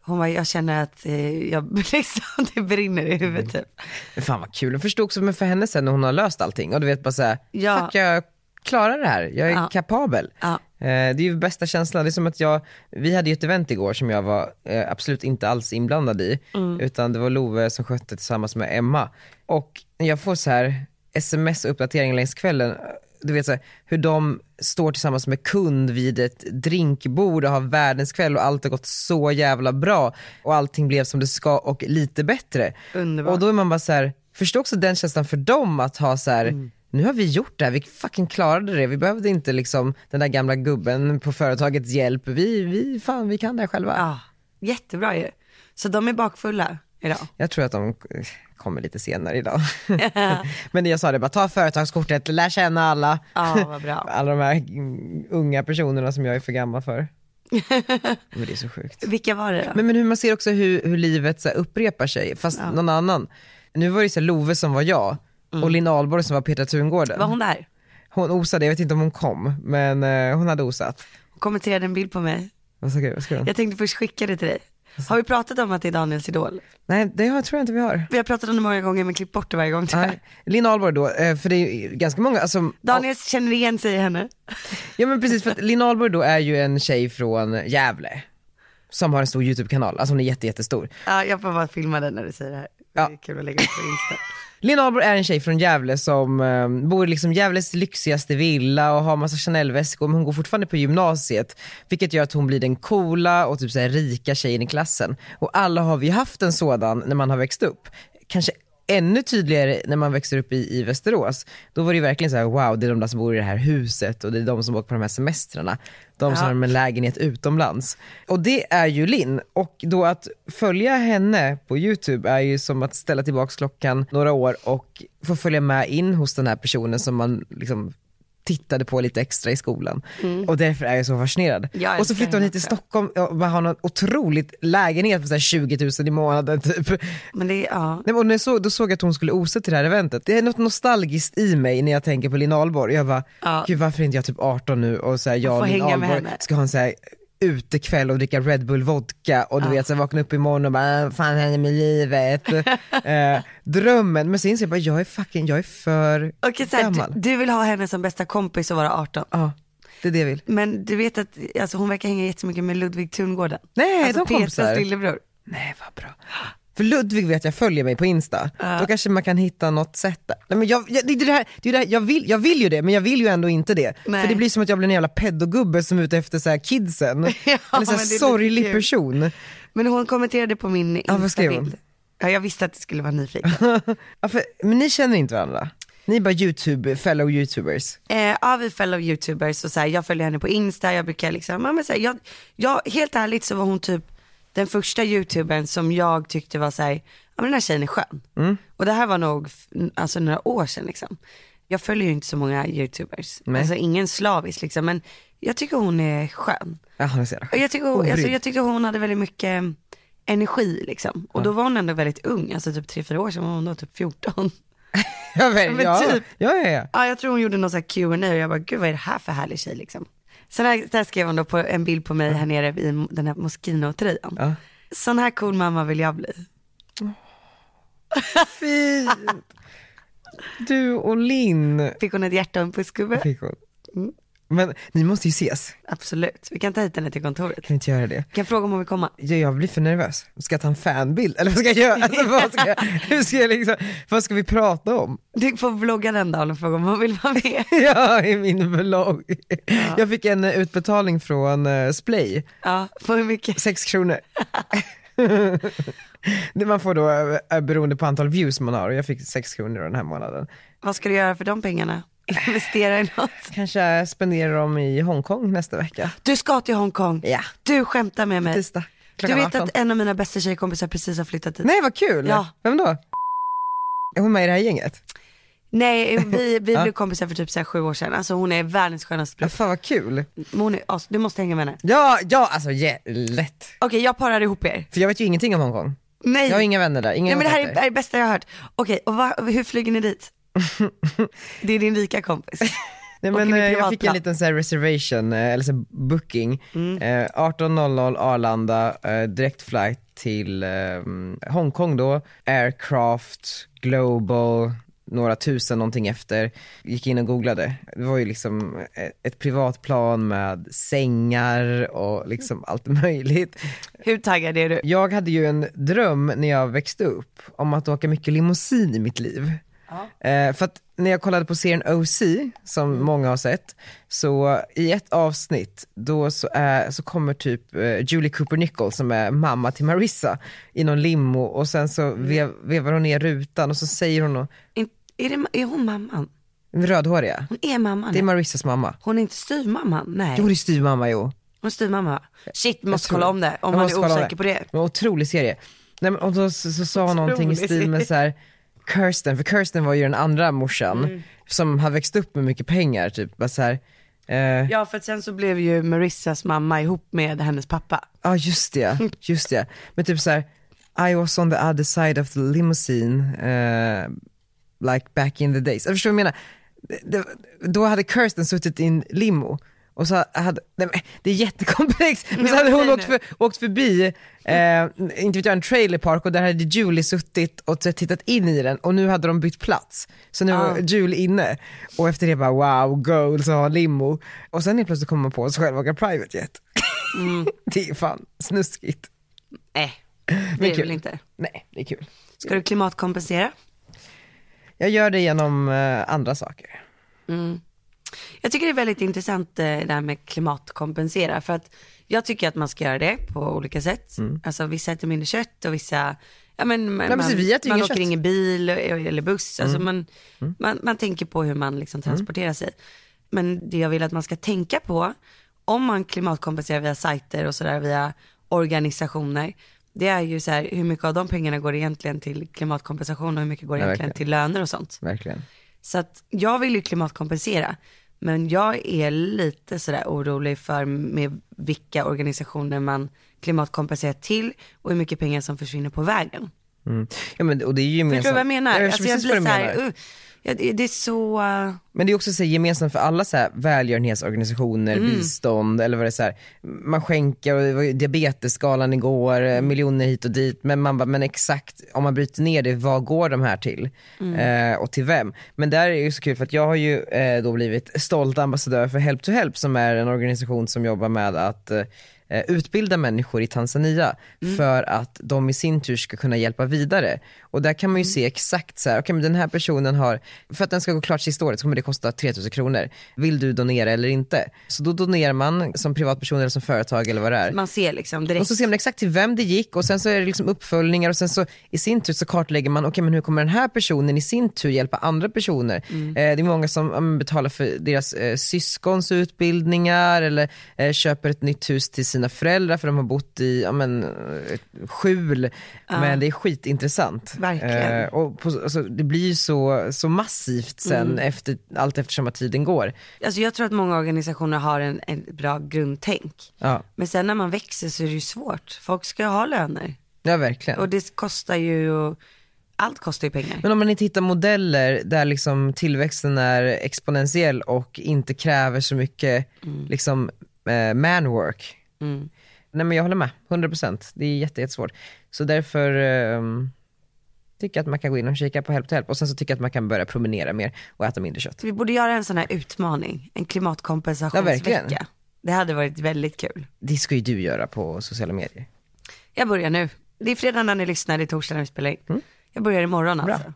Hon bara, jag känner att eh, jag [laughs] liksom, det brinner i huvudet typ. Men fan vad kul, jag förstod också men för henne sen när hon har löst allting och du vet bara såhär, Ja. fuck jag klarar det här, jag är Ja. kapabel. Ja. Eh, Det är ju bästa känslan, det är som att jag, vi hade ju ett event igår som jag var eh, absolut inte alls inblandad i, Mm. utan det var Love som skötte tillsammans med Emma. Och jag får så här sms-uppdateringar längs kvällen, du vet så här, hur de står tillsammans med kund vid ett drinkbord och har världens kväll och allt har gått så jävla bra och allting blev som det ska och lite bättre. Underbart. Och då är man bara så här, förstår också den känslan för dem att ha så här, Mm. nu har vi gjort det här, vi fucking klarade det, vi behövde inte liksom den där gamla gubben på företagets hjälp, vi, vi, fan vi kan det här själva. Ja, jättebra ju. Så de är bakfulla idag. Jag tror att de eh, kommer lite senare [laughs] idag. Men jag sa det bara, ta företagskortet, lär känna alla. Ja, vad bra. Alla de här mm, unga personerna som jag är för gammal för. Men det är så sjukt. [laughs] Vilka var det då? Men, men hur man ser också hur, hur livet så här, upprepar sig, fast någon annan. Nu var det ju så här, Love som var jag Mm. och Linn Ahlborg som var Petra Tungården. Var Hon... hon där? osade, jag vet inte om hon kom, men eh, hon hade osat. Hon kommenterade en bild på mig. Vad ska, vad ska hon? Jag tänkte först skicka det till dig. Har vi pratat om att det är Daniels idol? Nej, det har, tror jag inte vi har. Vi har pratat om det många gånger men klippt bort det varje gång. tror jag. Nej. Linn Ahlborg då, eh, för det är ju ganska många, alltså, Daniel känner igen sig i henne. Ja men precis, för att Linn Ahlborg då är ju en tjej från Gävle. Som har en stor YouTube-kanal, alltså hon är jätte, jättestor. Ja, jag får bara filma den när du säger det här. Det Ja. är kul att lägga upp på Insta. Linn Ahlborg är en tjej från Gävle som eh, bor i liksom Gävles lyxigaste villa och har massa Chanel-väskor men hon går fortfarande på gymnasiet. Vilket gör att hon blir den coola och typ så här rika tjejen i klassen. Och alla har vi haft en sådan när man har växt upp. Kanske ännu tydligare när man växer upp i, i Västerås. Då var det ju verkligen så här: wow det är de där som bor i det här huset och det är de som åker på de här semestrarna. De som Ja. har med lägenhet utomlands. Och det är ju Linn. Och då att följa henne på YouTube är ju som att ställa tillbaka klockan några år och få följa med in hos den här personen som man liksom tittade på lite extra i skolan. Och därför är jag så fascinerad. Mm. Jag och så älskar flyttar hon henne hit till också. Stockholm och man har någon otroligt lägenhet på så här 20 000 i månaden typ. Men det är, ja. Nej, men och när jag såg, då såg jag att hon skulle osa till det här eventet. Det är något nostalgiskt i mig när jag tänker på Linn Ahlborg. Jag bara, Ja. gud varför är inte jag typ 18 nu och så här, jag får och Linn hänga med Ahlborg henne. ska ha en så här utekväll och dricka Red Bull vodka och du vet så här, vakna upp imorgon och bara, "Ah, "Vad fan händer med [laughs] livet? eh, drömmen, men sen inser jag bara, jag är fucking, jag är för Okej, så här, gammal. du, du vill ha henne som bästa kompis och vara 18. Ja, det är det jag vill. Men du vet att alltså, hon verkar hänga jättemycket med Ludvig Tungården. Nej, de alltså, kompisar. Petras lillebror. Nej vad bra. För Ludvig vet jag följer mig på Insta, då kanske man kan hitta något sätt där. Nej, men jag, jag, det är det här, det är det här, jag, vill, jag vill ju det men jag vill ju ändå inte det. Nej. För det blir som att jag blir en jävla pedogubbe som är ute efter så här [laughs] kidsen. Eller men så det är här lite sorglig kul. person. [laughs] Men hon kommenterade på min vad skrev hon? Insta-bild. Ja, jag visste att det skulle vara nyfiken. Ja, för, men ni känner inte varandra? Ni är bara YouTube, fellow youtubers. Eh, ja, vi fellow youtubers och så här, jag följer henne på Insta, jag brukar liksom, ja, men så här, jag, jag, helt ärligt så var hon typ den första youtubern som jag tyckte var så här, ja men den här tjejen är skön. Mm. Och det här var nog, f- alltså några år sedan liksom. Jag följer ju inte så många youtubers, Nej. alltså ingen slavis liksom, men jag tycker hon är skön. Ja, ni ser. Och jag, tycker hon, Obrydd. alltså, jag tyckte hon hade väldigt mycket eh, energi liksom. Och då var hon ändå väldigt ung, alltså typ 3-4 år sedan var hon då typ 14. [laughs] Ja, men, men ja. typ. ja, ja, ja. Ja, jag tror hon gjorde någon sån här Q&A och jag bara, gud vad är det här för härlig tjej liksom. Sen här, där skrev hon då på en bild på mig här nere i den här Moschino-tröjan. Ja. Sån här cool mamma vill jag bli. Fint. Du och Linn Fick hon ett hjärta och [laughs] en pussgubbe? fick hon. Men ni måste ju ses, Absolut, vi kan ta hit henne till kontoret. kan ni inte göra det? Vi kan fråga om hon vill komma. Ja, jag blir för nervös. Ska jag ta en fanbild? Eller vad ska jag göra? Alltså, vad, ska jag, [laughs] hur ska jag liksom, vad ska vi prata om? [laughs] Du får vlogga den dagen och fråga om hon vill vara med. Ja, i min vlogg. Jag fick en eh, utbetalning från eh, Splay, Ja, för hur mycket? 6 [laughs] kronor. Det man får då eh, beroende på antal views man har och jag fick 6 kronor den här månaden. Vad ska du göra för de pengarna? investera i något. Kanske spenderar dem i Hongkong nästa vecka. Du ska till Hongkong. Ja. Du skämtar med mig. Tisdag. Du klockan vet 18. att en av mina bästa tjejkompisar precis har flyttat dit. Nej vad kul! Ja. Vem då? Är hon med i det här gänget? Nej, [laughs] vi, vi Ja. blev kompisar för typ så här sju år sedan. Alltså hon är världens skönaste Ja, plupp. fan vad kul. Men Hon är as, du måste hänga med henne. Ja, ja alltså ja, lätt. Okej, jag parar ihop er. För jag vet ju ingenting om Hongkong. Nej, Jag har inga vänner där, inga Nej men det här är det kontakter. här är det bästa jag har hört. Okej, och va, hur flyger [laughs] ni dit? det är din rika kompis. Nej, åker men, ni eh, jag fick en privatplan? liten så här reservation, eh, eller så här booking. Mm. Eh, 18.00 Arlanda, eh, direkt flight till eh, Hongkong då. Aircraft, Global, några tusen någonting efter. Gick in och googlade. Det var ju liksom eh, ett privatplan med sängar och liksom allt möjligt. Hur taggad är du? Jag hade ju en dröm när jag växte upp om att åka mycket limousin i mitt liv. Eh, för att när jag kollade på serien OC, som många har sett, så i ett avsnitt då så, är, så kommer typ eh, Julie Cooper Nichols som är mamma till Marissa i någon limo och sen så vev, vevar hon ner rutan och så säger hon, nå- In, är, det, är hon mamman? den rödhåriga, Hon är mamman. det är Marissas mamma. hon är inte styvmamman? Nej. Jo det är styvmamma jo. Hon är styvmamma. Shit, vi Jag måste tror kolla om det. Om Jag man måste är kolla om osäker på det. Men otrolig serie. Nej, men, och då så, så sa hon någonting i Otrolig stil med så här, Kirsten, för Kirsten var ju den andra morsan Mm. som har växt upp med mycket pengar typ. Bara så här, eh, Ja, för att sen så blev ju Marissas mamma ihop med hennes pappa. Ja ah, just det, just det. Men typ såhär, I was on the other side of the limousine, eh, like back in the days. Jag förstår vad jag menar? Det- det- Då hade Kirsten suttit i en limo och så hade, nej, men det är jättekomplext, men så Mm. Ja, hade men hon säg åkt, för, nu. åkt förbi, eh, inte vet jag, en trailer park och där hade Julie suttit och t- tittat in i den och nu hade de bytt plats. Så nu var Ah. Julie inne och efter det bara wow, goals och ha en limo. Och sen helt plötsligt kommer man på sig själv och åka private jet. Mm. [laughs] Det är fan snuskigt. Nej, det Men är kul. väl inte. Nej, det är kul. Ska du klimatkompensera? Jag gör det genom eh, andra saker. Jag tycker det är väldigt intressant eh, det här med klimatkompensera för att jag tycker att man ska göra det på olika sätt. Alltså vissa äter mindre kött och vissa, ja men man, Mm. precis, vi äter ju man inget åker kött. Mm. ingen bil eller buss. Alltså man, Man, man tänker på hur man liksom transporterar sig. Men det jag vill att man ska tänka på om man klimatkompenserar via sajter och sådär via organisationer. Det är ju så här hur mycket av de pengarna går egentligen till klimatkompensation och hur mycket går Ja, egentligen verkligen. till löner och sånt. Verkligen. Så att jag vill ju klimatkompensera. Men jag är lite sådär orolig för med vilka organisationer man klimatkompenserar till och hur mycket pengar som försvinner på vägen. Mm. Ja, men, och det är ju gemensamt. Förstår du vad jag menar? Ja, Alltså, jag jag förstår blir precis vad du såhär, menar. uh, ja, det det är så, uh, Men det är också så här, gemensamt för alla så här, välgörenhetsorganisationer, bistånd eller vad det är så här, man skänker och det var ju diabetesskalan igår, eh, miljoner hit och dit. Men man bara, men exakt om man bryter ner det, vad går de här till? Eh, och till vem? Men där är det ju så kul för att jag har ju eh, då blivit stolt ambassadör för Help to Help som är en organisation som jobbar med att eh, eh, utbilda människor i Tanzania för att de i sin tur ska kunna hjälpa vidare. Och där kan man ju se exakt så här, okej men den här personen har, för att den ska gå klart sista året så kommer det kosta 3000 kronor. Vill du donera eller inte? Så då donerar man som privatperson eller som företag eller vad det är. man ser liksom direkt. Och så ser man exakt till vem det gick och sen så är det liksom uppföljningar och sen så i sin tur så kartlägger man, okej men hur kommer den här personen i sin tur hjälpa andra personer? Eh, det är många som ja, men betalar för deras eh, syskons utbildningar eller eh, köper ett nytt hus till sina föräldrar för de har bott i ja, men, eh, ett skjul. Men det är skitintressant. Verkligen. Eh, och på, alltså, det blir ju så, så massivt sen efter, allt eftersom att tiden går. Alltså jag tror att många organisationer har en, en bra grundtänk. Ja, Men sen när man växer så är det ju svårt. Folk ska ju ha löner. ja verkligen. Och det kostar ju, allt kostar ju pengar. Men om man inte hittar modeller där liksom tillväxten är exponentiell och inte kräver så mycket liksom, eh, manwork. Mm. Nej men jag håller med, 100%. Det är jätte, jättesvårt. Så därför eh, tycker jag att man kan gå in och kika på Help to Help och sen så tycker jag att man kan börja promenera mer och äta mindre kött. Så vi borde göra en sån här utmaning, en klimatkompensationsvecka. Ja, verkligen. det hade varit väldigt kul. Det ska ju du göra på sociala medier. Jag börjar nu. Det är fredag när ni lyssnar, det är torsdag när vi spelar in. Jag börjar imorgon Mm. Bra. alltså.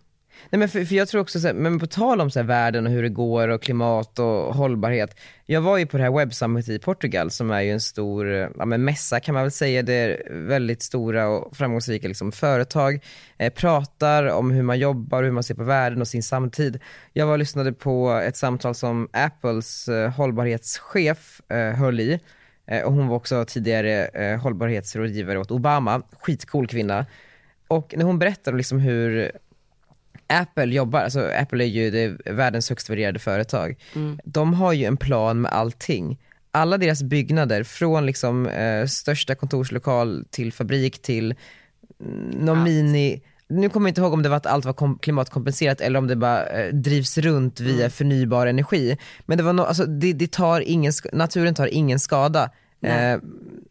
Nej, men för, för jag tror också, så här, men på tal om så här, världen och hur det går och klimat och hållbarhet. Jag var ju på det här Web Summit i Portugal som är ju en stor ja, men mässa kan man väl säga. Det är väldigt stora och framgångsrika liksom, företag. Eh, pratar om hur man jobbar, hur man ser på världen och sin samtid. Jag var och lyssnade på ett samtal som Apples eh, hållbarhetschef eh, höll i. Eh, och hon var också tidigare eh, hållbarhetsrådgivare åt Obama. Skitcool kvinna. Och när hon berättade liksom hur Apple jobbar, alltså Apple är ju det, världens högst värderade företag. Mm. De har ju en plan med allting. Alla deras byggnader, från liksom eh, största kontorslokal till fabrik till någon allt. mini, nu kommer jag inte ihåg om det var att allt var klimatkompenserat eller om det bara eh, drivs runt via mm. förnybar energi. Men det var no, alltså, det, det tar ingen, naturen tar ingen skada. Eh,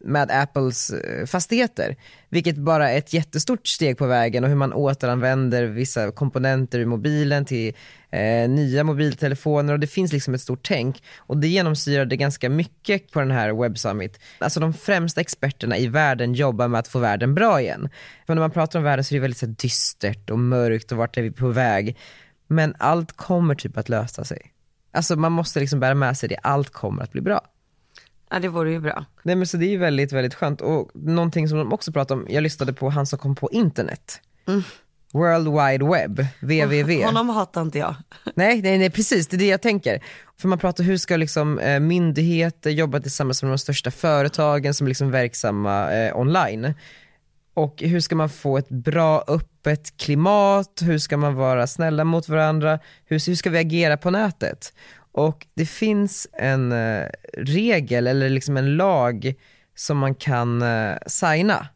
med Apples eh, fastigheter. Vilket bara är ett jättestort steg på vägen och hur man återanvänder vissa komponenter ur mobilen till eh, nya mobiltelefoner och det finns liksom ett stort tänk. Och det genomsyrade ganska mycket på den här Web Summit. Alltså de främsta experterna i världen jobbar med att få världen bra igen. För när man pratar om världen så är det väldigt så dystert och mörkt och vart är vi på väg. Men allt kommer typ att lösa sig. Alltså man måste liksom bära med sig det, allt kommer att bli bra. Ja det vore ju bra. Nej men så det är ju väldigt, väldigt skönt. Och någonting som de också pratar om, jag lyssnade på han som kom på internet. Mm. World Wide Web, www. Honom hatar inte jag. Nej, nej, nej precis, det är det jag tänker. För man pratar hur ska liksom, eh, myndigheter jobba tillsammans med de största företagen som är liksom verksamma eh, online. Och hur ska man få ett bra öppet klimat, hur ska man vara snälla mot varandra, hur, hur ska vi agera på nätet? Och det finns en eh, regel eller liksom en lag som man kan eh, signa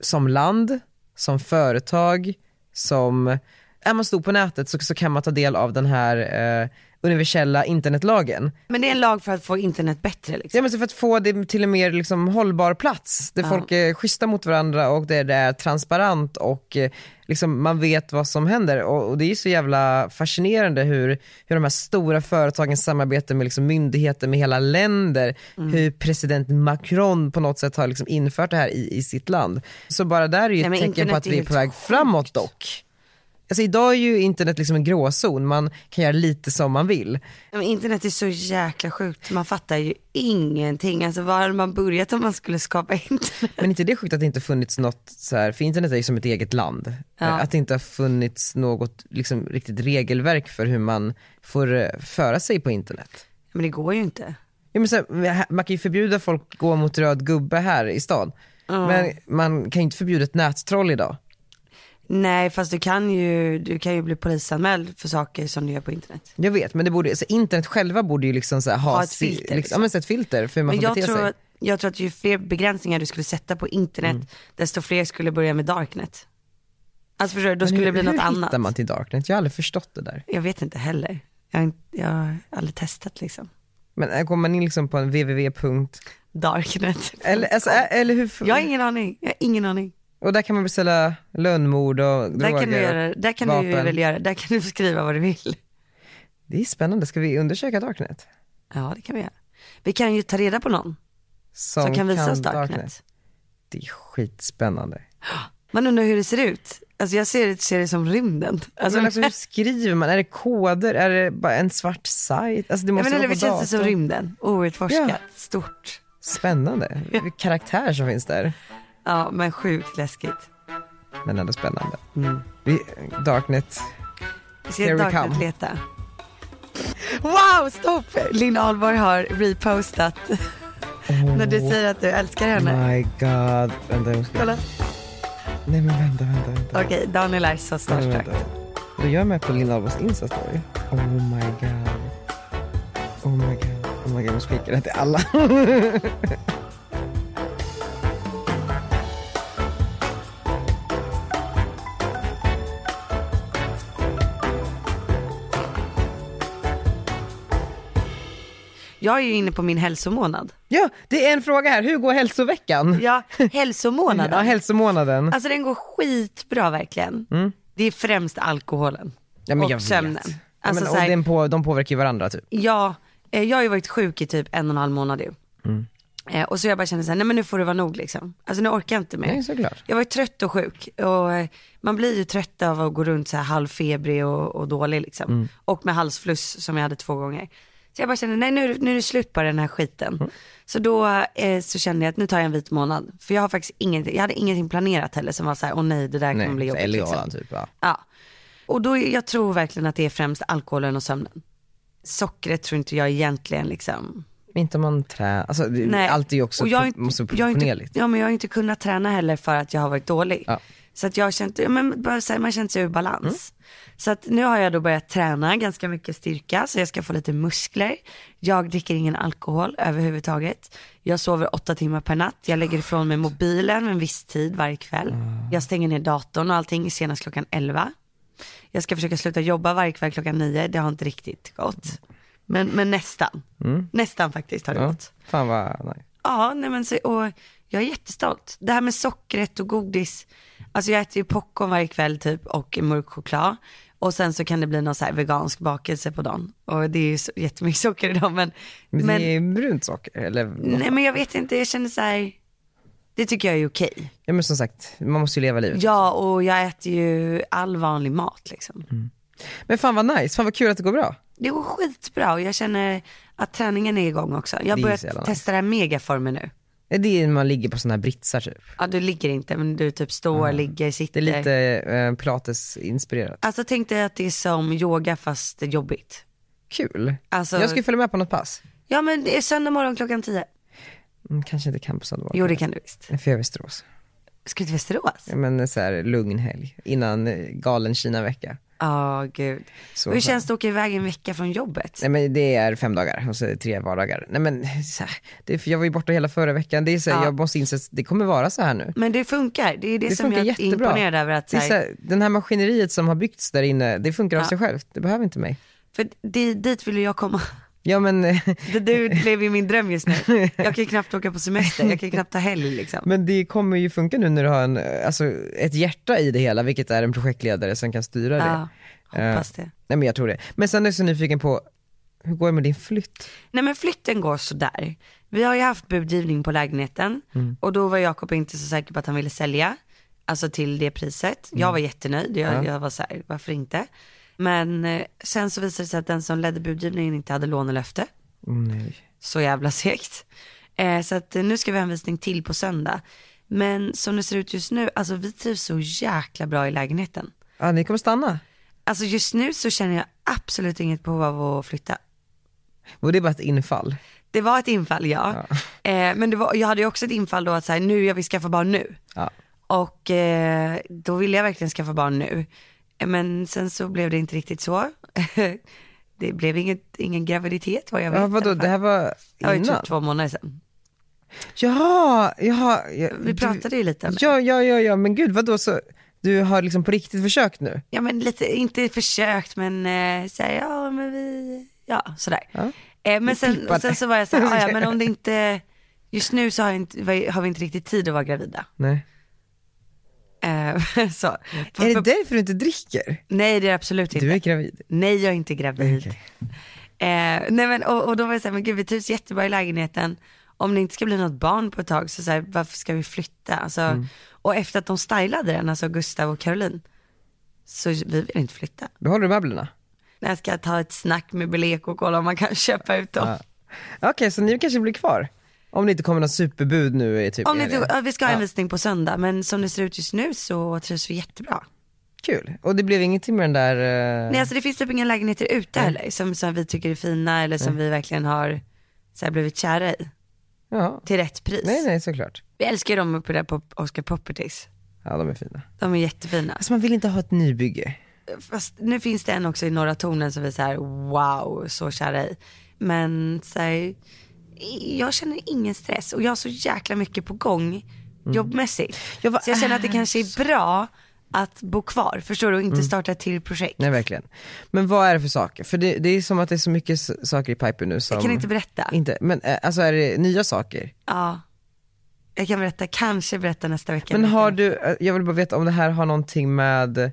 som land, som företag, som, eh, är man stor på nätet så, så kan man ta del av den här eh, universella internetlagen. Men det är en lag för att få internet bättre? Liksom. Ja men för att få det till en mer liksom, hållbar plats där ja. folk är schyssta mot varandra och där det är transparent och liksom, man vet vad som händer. Och, och, det är så jävla fascinerande hur, hur de här stora företagen samarbetar med liksom, myndigheter med hela länder. Mm. Hur president Macron på något sätt har liksom, infört det här i, i sitt land. Så bara där är ju ett tecken på att vi är på väg sjukt. framåt dock. Alltså idag är ju internet liksom en gråzon, man kan göra lite som man vill. Men internet är så jäkla sjukt, man fattar ju ingenting. Alltså var hade man börjat om man skulle skapa [laughs] internet? Men inte det sjukt att det inte funnits något så här, för internet är ju som ett eget land. Ja. Att det inte har funnits något liksom, riktigt regelverk för hur man får eh, föra sig på internet. Men det går ju inte. Ja, men så här, man kan ju förbjuda folk att gå mot röd gubbe här i stan. Mm. Men man kan ju inte förbjuda ett nättroll idag. Nej fast du kan ju, du kan ju bli polisanmäld för saker som du gör på internet. Jag vet men det borde, så internet själva borde ju liksom ha, ha, ett filter. Liksom. Liksom, ja, men ett filter för hur man men får jag bete tror, sig. Jag tror att ju fler begränsningar du skulle sätta på internet mm. desto fler skulle börja med darknet. Alltså förstår du, då men skulle hur, det bli något annat. Hur hittar man till darknet? Jag har aldrig förstått det där. Jag vet inte heller. Jag har, inte, jag har aldrig testat liksom. Men går man in liksom på en www. [laughs] Darknet. Eller, alltså, eller hur? Jag har ingen aning. Jag har ingen aning. Och där kan man beställa lönnmord och droger, där kan du göra, Där kan vapen. du väl göra, där kan du [laughs] skriva vad du vill. Det är spännande, ska vi undersöka Darknet? Ja det kan vi göra. Vi kan ju ta reda på någon som, som kan visa oss darknet. darknet. Det är skitspännande. Man undrar hur det ser ut. Alltså jag ser, ser det som rymden. Alltså, men alltså, [laughs] hur skriver man? Är det koder? Är det bara en svart sajt? Alltså, det måste ja, men eller, känns datorn. det som rymden? Outforskat, ja. stort. Spännande, vilken karaktär som finns där. Ja, men sjukt läskigt. Men ändå spännande. Mm. Vi, Darknet, vi ska here Darknet we come. leta. Wow, stopp! Linn Ahlborg har repostat oh. när du säger att du älskar henne. Oh My god, vänta jag måste... Kolla. Nej men vänta, vänta, vänta. Okej, okay, Daniel är så starstruck. Då gör jag med på Linn Ahlborgs Insta-story. Oh my god. Oh my god. Oh my god, jag måste skicka det till alla. [laughs] Jag är ju inne på min hälsomånad. Ja, det är en fråga här. Hur går hälsoveckan? Ja, hälsomånaden. ja, hälsomånaden. Alltså den går skitbra verkligen. Mm. Det är främst alkoholen ja, och sömnen. Vet. Alltså, ja, men, och den på, de påverkar ju varandra typ. eh, Ja, jag har ju varit sjuk i typ en och en halv månad ju. Mm. Eh, och så jag bara kände såhär, nej men nu får det vara nog liksom. Alltså nu orkar jag inte mer. Nej, såklart. Jag var ju trött och sjuk och eh, man blir ju trött av att gå runt så här halvfebrig och, och dålig liksom. Mm. Och med halsfluss som jag hade två gånger. Så jag bara kände, nej nu, nu är det slut på den här skiten. Mm. Så då eh, så kände jag att nu tar jag en vit månad. För jag har faktiskt ingenting, jag hade ingenting planerat heller som var så här, åh nej det där Nej, kommer bli så jobbigt. liksom. Ellegalan typ ja. Ja. Och då, jag tror verkligen att det är främst alkoholen och sömnen. Sockret tror inte jag egentligen liksom. Men inte om man trä, alltså det, Nej. allt är ju också Och jag har pro- inte- måste vara jag har inte- proportionerligt. Ja men jag har inte kunnat träna heller för att jag har varit dålig. Ja. Så att jag har känt, ja, men bara så här, man känner sig ur balans. Mm. Så att nu har jag då börjat träna ganska mycket styrka så jag ska få lite muskler. Jag dricker ingen alkohol överhuvudtaget. Jag sover åtta timmar per natt. Jag lägger ifrån mig mobilen vid en viss tid varje kväll. Ah. Jag stänger ner datorn och allting senast klockan 11. Jag ska försöka sluta jobba varje kväll klockan 9. Det har inte riktigt gått. Men, men nästan. Nästan faktiskt har det Mm. Ja. gått. Fan vad, nej. Ja, nej men så, och jag är jättestolt. Det här med sockret och godis. Alltså jag äter ju popcorn varje kväll typ och mörk choklad. Och sen så kan det bli någon så här vegansk bakelse på dagen. Och det är ju så, jättemycket socker i dem. Men, Men, Mm. men, det är brunt socker eller? nej, men jag vet inte, jag känner så här, det tycker jag är okej. Ja men som sagt, man måste ju leva livet. Ja, och jag äter ju all vanlig mat liksom. Mm. Men fan vad nice, fan vad kul att det går bra. Det går skitbra och jag känner att träningen är igång också. Jag har ju börjat så jävla testa nice. det här megaformen nu. Det är det när man ligger på sådana här britsar typ. Ja, du ligger inte, men du typ står, ligger, Det sitter. är lite eh, pilates-inspirerat. Alltså tänk dig att det är som yoga fast det är jobbigt. Kul. Alltså- Jag ska ju följa med på något pass. Ja men det är söndag morgon klockan 10. Mm, kanske inte kan på Södermalm. Jo det kan du visst. För jag är i Västerås. Ska du till Västerås? Ja, men så här lugn helg innan eh, galen Kina-vecka. Ja gud. Så Och hur skönt. känns det att åka iväg en vecka från jobbet? Nej men det är fem dagar och så är det tre vardagar. Nej men så här, det är, för jag var ju borta hela förra veckan. Det är så här, Ja. Jag måste inse att det kommer vara så här nu. Men det funkar, det är det, Det som funkar jag är jättebra. imponerad över att Det så är här, så här, den här maskineriet som har byggts där inne, det funkar av Ja. sig självt. Det behöver inte mig. för det, dit vill ju jag komma. [laughs] Ja men, [laughs] eh, Det du blev ju min [laughs] dröm just nu. Jag kan ju knappt åka på semester, jag kan ju knappt ta helg liksom. men det kommer ju funka nu när du har en, eh, alltså, ett hjärta i det hela, vilket är en projektledare som kan styra det. Eh, Ja, hoppas det. Nej men jag tror det. Men sen är jag så nyfiken på, hur går det med din flytt? Nej men flytten går sådär. Vi har ju haft budgivning på lägenheten och då var Jakob inte så säker på att han ville sälja. Alltså till det priset. Jag var jättenöjd, jag, jag var såhär, varför inte? Men eh, sen så visade det sig att den som ledde budgivningen inte hade lånelöfte. Oh, nej. Så jävla segt. Eh, så att eh, nu ska vi ha en visning till på söndag. Men som det ser ut just nu, alltså vi trivs så jäkla bra i lägenheten. Ja ni kommer stanna. Alltså just nu så känner jag absolut inget behov av att flytta. Och det är bara ett infall. Det var ett infall ja. [laughs] Eh, men det var, jag hade ju också ett infall då att så här, nu, jag vill skaffa barn nu. Ja. Och eh, då ville jag verkligen skaffa barn nu. Eh, Men sen så blev det inte riktigt så. [laughs] det blev inget, ingen graviditet vad jag vet. Ja, vadå, det här var det var ju innan? typ två månader sedan. Jaha, jaha. ja, Vi du- pratade ju lite om det. Ja, ja, ja, ja, men gud vadå så, du har liksom på riktigt försökt nu? Ja men lite, inte försökt men eh, så här, ja men vi, ja sådär. Ja. Eh, men sen, pipade. sen så var jag så här, "Ah, [laughs] ja men om det inte, just nu så har, jag inte, har vi inte riktigt tid att vara gravida. Nej. Eh, [laughs] så. Är det därför du inte dricker? Nej det är det absolut inte. Du är gravid. Nej jag är inte gravid. Eh, nej men, och, och då var jag såhär, men gud vi trivs jättebra i lägenheten. Om det inte ska bli något barn på ett tag så, så här, varför ska vi flytta? Alltså, Mm. Och efter att de stylade den, alltså Gustav och Caroline, så vi vill inte flytta. Då håller du möblerna? När jag ska ta ett snack med Beleko och kolla om man kan [laughs] köpa ut dem. Ja. Okej, så ni kanske blir kvar? Om det inte kommer något superbud nu i typ Om ni, helgen. ja, vi ska ha en Ja. visning på söndag men som det ser ut just nu så trivs vi jättebra. Kul. Och det blev ingenting med den där... eh, Nej alltså det finns typ inga lägenheter ute heller som, som vi tycker är fina eller som vi verkligen har så här, blivit kära i Ja. till rätt pris. Nej, nej, såklart. Vi älskar ju dem uppe där på Oscar Properties. Ja, de är fina. De är jättefina. Alltså man vill inte ha ett nybygge. Fast nu finns det en också i Norra Tornen som vi är så här, wow, så kära i. Men så här, jag känner ingen stress och jag har så jäkla mycket på gång jobbmässigt. Mm. Jag Äh, bara, så jag känner att det kanske är bra att bo kvar, förstår du, och inte starta ett till projekt. Mm. Nej, verkligen. Men vad är det för saker? För det, det är som att det är så mycket s- saker i pipen nu som... Jag kan inte berätta. Inte, men eh, alltså är det nya saker? Ja. Jag kan berätta, kanske berätta nästa vecka. Men har du, eh, jag vill bara veta om det här har någonting med,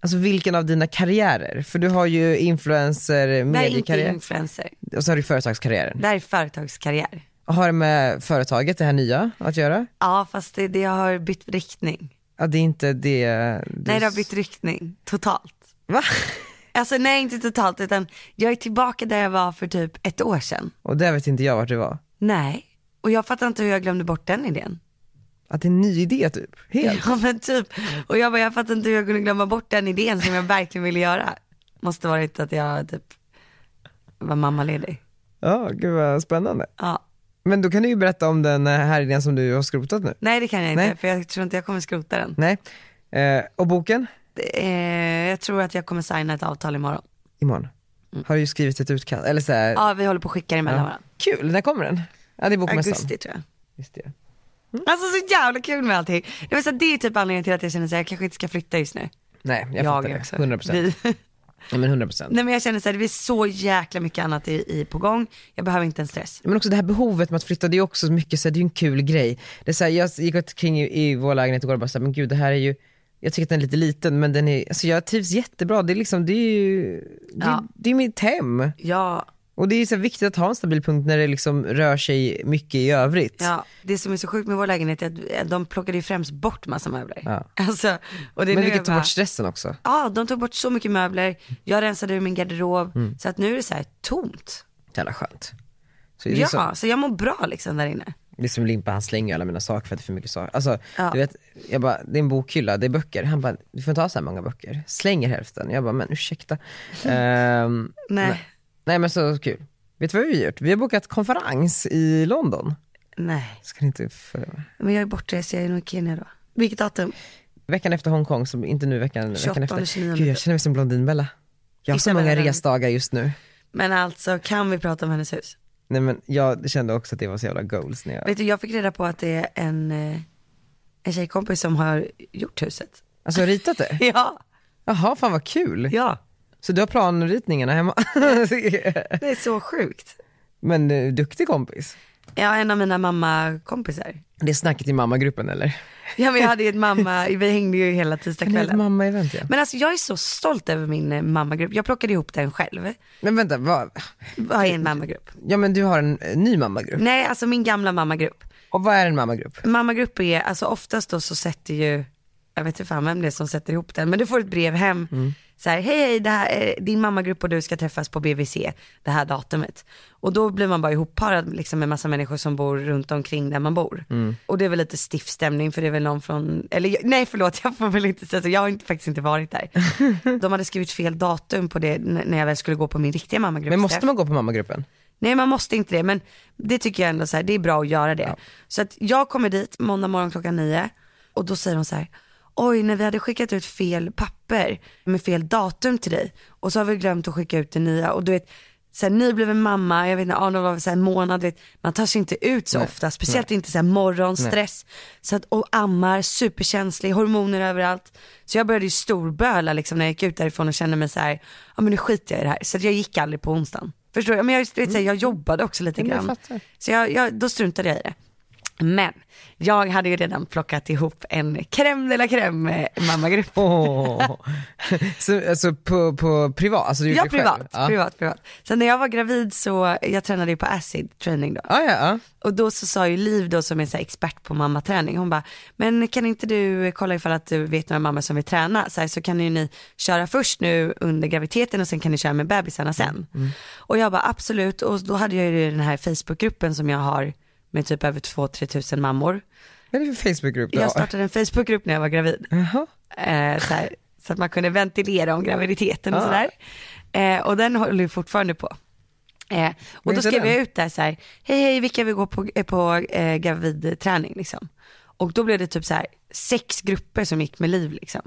alltså vilken av dina karriärer? För du har ju influencer, Nej, inte mediekarriär influencer. och så har du företagskarriären. Det här är företagskarriär. Okej, Har det med företaget, det här nya, att göra? Ja fast det, det har bytt riktning. Ja, det är inte det... det... Nej det har bytt riktning, totalt. Va? Alltså nej inte totalt utan jag är tillbaka där jag var för typ ett år sedan. Och där vet inte jag vart det var. Nej, och jag fattar inte hur jag glömde bort den idén. Att det är en ny idé typ, helt. Ja men typ, och jag bara jag fattar inte hur jag kunde glömma bort den idén som jag verkligen ville göra. Måste varit att jag typ var mammaledig. Ja, gud vad spännande. Ja. Men då kan du ju berätta om den eh, här idén som du har skrotat nu. Nej det kan jag inte Nej. för jag tror inte jag kommer skrota den. Nej. Eh, och boken? Eh, jag tror att jag kommer signa ett avtal imorgon. Imorgon. Har du ju skrivit ett utkast, eller så här, Mm. Ja vi håller på och skickar emellan varandra. Kul, när kommer den? Ja det är bokmässan. Augusti tror jag. Just det. Alltså så jävla kul med allting. Det, var så, det är typ anledningen till att jag känner att jag kanske inte ska flytta just nu. Nej jag, fattar det, 100%. Vi, [laughs] Ja, men 100 procent. nej men jag känner så här, det blir så jäkla mycket annat i, i på gång. Jag behöver inte en stress. Men också det här behovet med att flytta, det är också mycket så här, det är ju en kul grej. Det är så här, jag gick omkring i, i vår lägenhet igår och bara så här, men gud det här är ju, jag tycker att den är lite liten men den är, alltså jag trivs jättebra, det är liksom, det är ju, det, Ja. det är mitt hem. Ja, Och det är så här viktigt att ha en stabil punkt när det liksom rör sig mycket i övrigt. ja. Det som är så sjukt med vår lägenhet är att de plockade ju främst bort massa möbler. Ja. [laughs] Alltså, och det är Men nu vilket jag tar bara- bort stressen också. Ja, de tog bort så mycket möbler. Jag rensade ur min garderob. Mm. Så att nu är det så här tomt. Jävla skönt. Så det, är Ja, som, så jag mår bra liksom där inne. det är som Limpa, han slänger ju alla mina saker för att det är för mycket saker. Alltså, Ja. du vet, jag bara, det är en bokhylla, det är böcker. Han bara, du får inte ha så här många böcker. Slänger hälften. Jag bara, men [laughs] ursäkta. Ehm, Nej. Nej. Nej men så kul. Vet du vad vi har gjort? Vi har bokat konferens i London. Nej, Ska ni inte följa med? men jag är bortrest, jag är nog i Kenya då. Vilket datum? Veckan efter Hongkong, som inte nu veckan, veckan 28, efter. 29. Gud jag känner mig som Blondinbella. Jag har så Isabella många Rönn. resdagar just nu. Men alltså kan vi prata om hennes hus? Nej men jag kände också att det var så jävla goals när jag... Vet du, jag fick reda på att det är en, eh, en tjejkompis som har gjort huset. Alltså jag har ritat det? [laughs] Ja, Jaha, fan vad kul. ja. Så du har planritningarna hemma? [laughs] Det är så sjukt. men eh, duktig kompis. Ja, en av mina mammakompisar. Det är snacket i mammagruppen eller? Ja, men jag hade ju ett mamma, vi hängde ju hela Kan ni ha ett tisdagskvällen. mamma-event ja. Men alltså jag är så stolt över min eh, mammagrupp. Jag plockade ihop den själv. Men vänta, vad... Vad är en mammagrupp? Ja men du har en eh, ny mammagrupp. Nej, alltså min gamla mammagrupp. Och vad är en mammagrupp? Mammagrupp är, alltså oftast då så sätter ju, jag vet inte fan vem det är som sätter ihop den, men du får ett brev hem. Så här, hej hej, det här, är- din mammagrupp och du ska träffas på BVC det här datumet. Och då blir man bara ihopparad liksom, med massa människor som bor runt omkring där man bor. Och det är väl lite stiff stämning för det är väl någon från, eller jag- nej förlåt [laughs] jag får väl inte säga så, jag har inte, faktiskt inte [laughs] varit där. De hade skrivit fel datum på det n- när jag väl skulle gå på min riktiga mammagrupp. Men måste man gå på mammagruppen? Nej man måste inte det men det tycker jag ändå så här, det är bra att göra det. Så att jag kommer dit måndag morgon klockan nio och då säger de så här, oj när vi hade skickat ut fel papper med fel datum till dig och så har vi glömt att skicka ut det nya och du vet så här, ni blev en mamma, jag vet inte, Arnold var så här en månad, du vet, man tar sig inte ut så ofta, speciellt inte så här morgonstress. Så att, och ammar, superkänslig, hormoner överallt. Så jag började ju storböla liksom när jag gick ut därifrån och kände mig så här, ja men nu skiter jag i det här. Så att jag gick aldrig på onsdagen. Förstår du? Men jag, du vet, så här, jag jobbade också lite Mm. men jag grann. fattar. Så jag, jag, då struntade jag i det. Men jag hade ju redan plockat ihop en crème de la crème eh, mammagrupp. Åh. [laughs] så, alltså på, på privat? Alltså, du Ja, gjorde det själv? privat, privat, privat. Sen när jag var gravid så, jag tränade ju på acid training då. Ja, ja, ja. Och då så sa ju Liv då som är så här expert på mammaträning, hon bara, men kan inte du kolla ifall att du vet några mammor som vill träna, så, här, så kan ju ni köra först nu under graviditeten och sen kan ni köra med bebisarna sen. Och jag bara absolut, och då hade jag ju den här Facebookgruppen som jag har med typ över 2-3 tusen mammor. Vad är det för Facebookgrupp du Jag har? startade en Facebookgrupp när jag var gravid. Jaha. Eh, så, här, så att man kunde ventilera om graviditeten och Ah. sådär. Eh, och den håller ju fortfarande på. Eh, och då heter skrev den? jag ut där så här, hej hej vilka vill gå på, eh, på eh, gravidträning liksom. Och då blev det typ så här sex grupper som gick med liv liksom.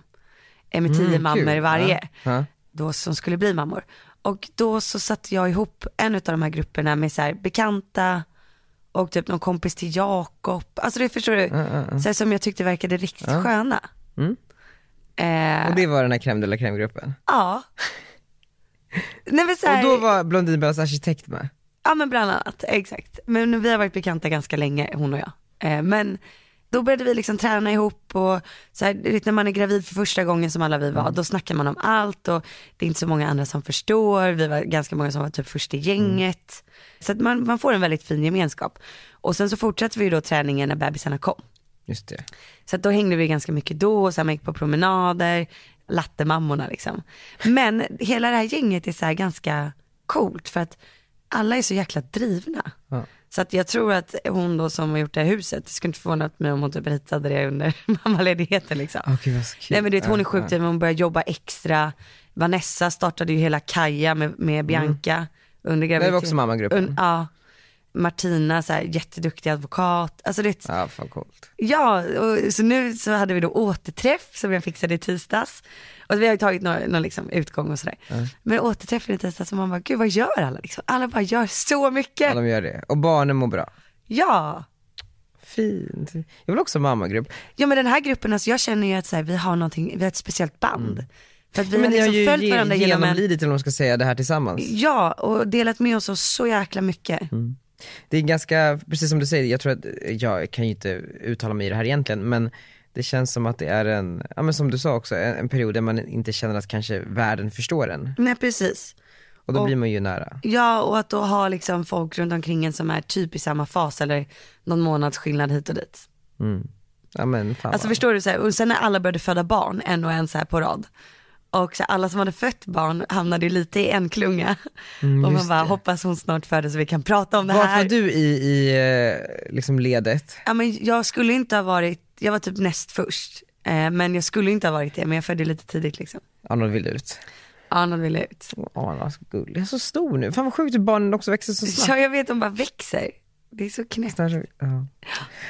Eh, med tio mammor Mm, kul. i varje. Ja, ja. Då som skulle bli mammor. Och då så satte jag ihop en av de här grupperna med så här bekanta och typ någon kompis till Jakob. Alltså det förstår du, Så här, som jag tyckte verkade riktigt sköna. Eh, Mm. Och det var den här crème de la crème-gruppen. Ja. [laughs] Nej men så Och här, då var Blondinbellas arkitekt med. ja men bland annat, exakt. Men vi har varit bekanta ganska länge hon och jag. Eh, men Då började vi liksom träna ihop och så här, du vet, när man är gravid för första gången som alla vi var, Mm. då snackar man om allt och det är inte så många andra som förstår. Vi var ganska många som var typ först i gänget. Mm. Så att man, man får en väldigt fin gemenskap. Och sen så fortsatte vi ju då träningen när bebisarna kom. Just det. Så att då hängde vi ganska mycket då, och sen man gick på promenader, lattemammorna liksom. Men hela det här gänget är så här ganska coolt för att alla är så jäkla drivna. Ja. Så att jag tror att hon då som har gjort det här huset, det skulle inte förvåna mig om hon typ ritade det under [laughs] mammaledigheten liksom. Åh gud vad så kul. Nej men du vet hon Ah, Ja, är sjukt driven, hon börjar jobba extra. Vanessa startade ju hela Kaja med, med Bianca under Mm. Det graviditeten. var också mammagruppen. Un- ja. Martina, så här, jätteduktig advokat. Alltså det, ja. Ja, fan coolt. ja, och, så nu så hade vi då återträff som jag fixade i tisdags. Och vi har ju tagit några, någon liksom utgång och sådär. Men återträffen i tisdags, och man bara, gud vad gör alla liksom? Alla bara gör så mycket. Ja, de gör det. Och barnen mår bra. Ja. Fint. Jag vill också ha mammagrupp. Ja men den här gruppen, alltså jag känner ju att så här, vi har någonting, vi har ett speciellt band. För att vi Mm. men ni har har liksom ju följt ge- varandra genom en, genomlidit, eller vad man ska säga, det här tillsammans. ja och delat med oss av så jäkla mycket. Mm. Det är ganska, precis som du säger, jag tror att, jag kan ju inte uttala mig i det här egentligen, men det känns som att det är en, ja men som du sa också, en, en period där man inte känner att kanske världen förstår en. Nej precis. Och då Och- blir man ju nära. Ja och att då ha liksom folk runt omkring en som är typ i samma fas eller någon månads skillnad hit och dit. Mm. Ja men fan Alltså vad- förstår du så här, och sen när alla började föda barn en och en så här på rad. Och så här, alla som hade fött barn hamnade ju lite i en klunga. och man Mm, just bara det. hoppas hon snart föder så vi kan prata om det Vart här. var du i, i eh, liksom ledet? Ja, men jag skulle inte ha varit, jag var typ näst först. Eh, men jag skulle inte ha varit det, men jag födde lite tidigt liksom. Arnold vill ut. Arnold ville ut. Åh han var så gullig, han är så stor nu. Fan vad sjukt hur barnen också växer så snabbt. Ja, jag vet, de bara växer. Det är så knäppt. Ja,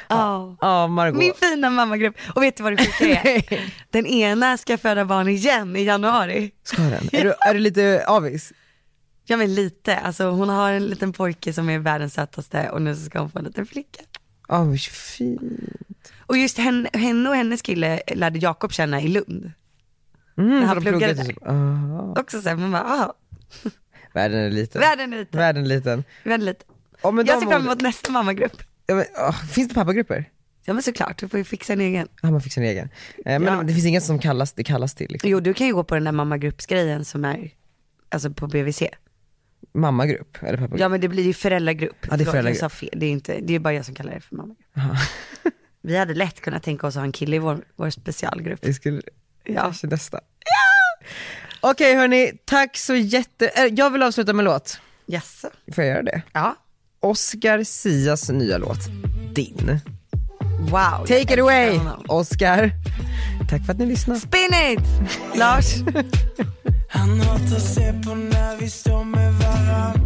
ja. Ja. Margot. Min fina mammagrupp. Och vet du vad det sjuka är? [laughs] Den ena ska föda barn igen i januari. Ska den? Är, du, är du lite avis? Ja men lite, alltså hon har en liten pojke som är världens sötaste och nu så ska hon få en liten flicka. Ja men så fin. Och just henne, henne och hennes kille lärde Jakob känna i Lund. Mm, han för de pluggade pluggar där. typ- Aha. Också såhär, man bara, ah, Världen är liten. världen är liten, Världen är liten. världen är liten. Ja, men Jag de ser fram orden- emot nästa mammagrupp. Ja, men, åh, finns det pappagrupper? Ja men såklart, du får ju fixa en egen. Ja, man fick sin egen. Eh, men Ja. det finns inget som kallas, det kallas till. Liksom. Jo du kan ju gå på den där mammagruppsgrejen som är, alltså på BVC. Mammagrupp eller pappagrupp? Ja men det blir ju föräldragrupp. det är Förlåt, föräldragrupp. Jag sa fel, det är, inte, det är bara jag som kallar det för mammagrupp. Aha. [laughs] Vi hade lätt kunnat tänka oss att ha en kille i vår, vår specialgrupp. Vi skulle Ja. kanske nästa. Okej hörni, tack så jätte... eh, Jag vill avsluta med en låt. Jaså? Får jag göra det? Ja. Oscar Sias nya låt, Din. Wow. Take it away honom. Oscar. Tack för att ni lyssnade. Spin it! Lars. Han hatar se på när vi står med varann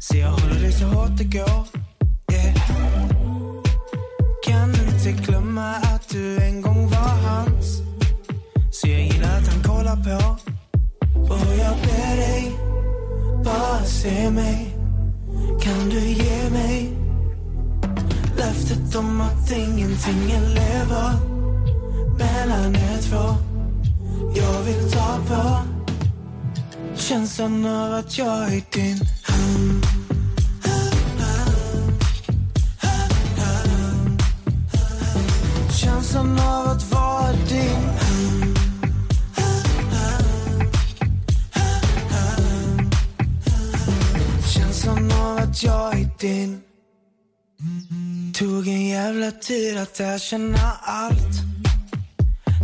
Så jag håller dig så hårt det går yeah. Kan inte glömma att du en gång var hans Så jag gillar att han kollar på Och jag ber dig, bara se mig Kan du ge mig löftet om att ingenting är lever mellan er två jag vill ta på känslan av att jag är din Känslan av att vara din Känslan av att jag är din Tog en jävla tid att erkänna allt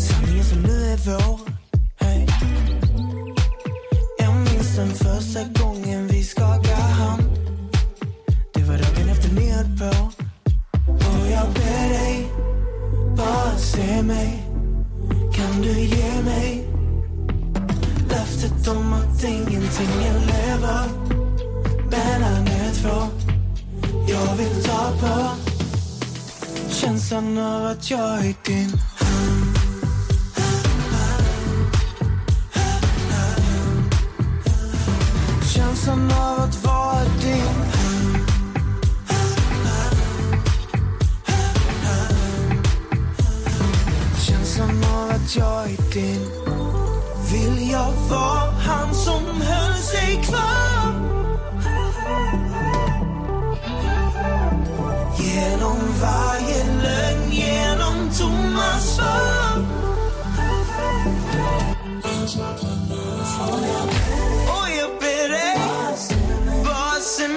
Sanningen som nu är vår hey. Jag minns den första gången vi skakade hand Det var dagen efter ni höll på Och jag ber dig, bara se mig Kan du ge mig löftet om att ingenting är lever mellan er två Jag vill ta på känslan av att jag är din Känslan av att vara din Känslan av att jag är din Vill jag vara han som höll sig kvar Genom varje lögn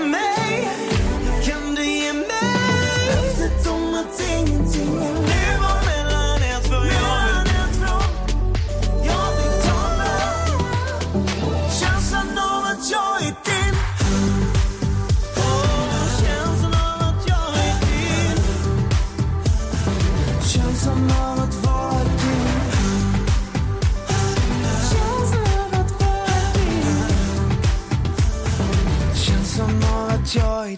mig? Kan du ge mig löftet om att ingenting är Nu var mellan ett för jag Jag vill ta mig Känslan av att jag är din Åh, Känslan av att jag är din Känslan av att vara din Känslan av att vara din Känslan av att jag är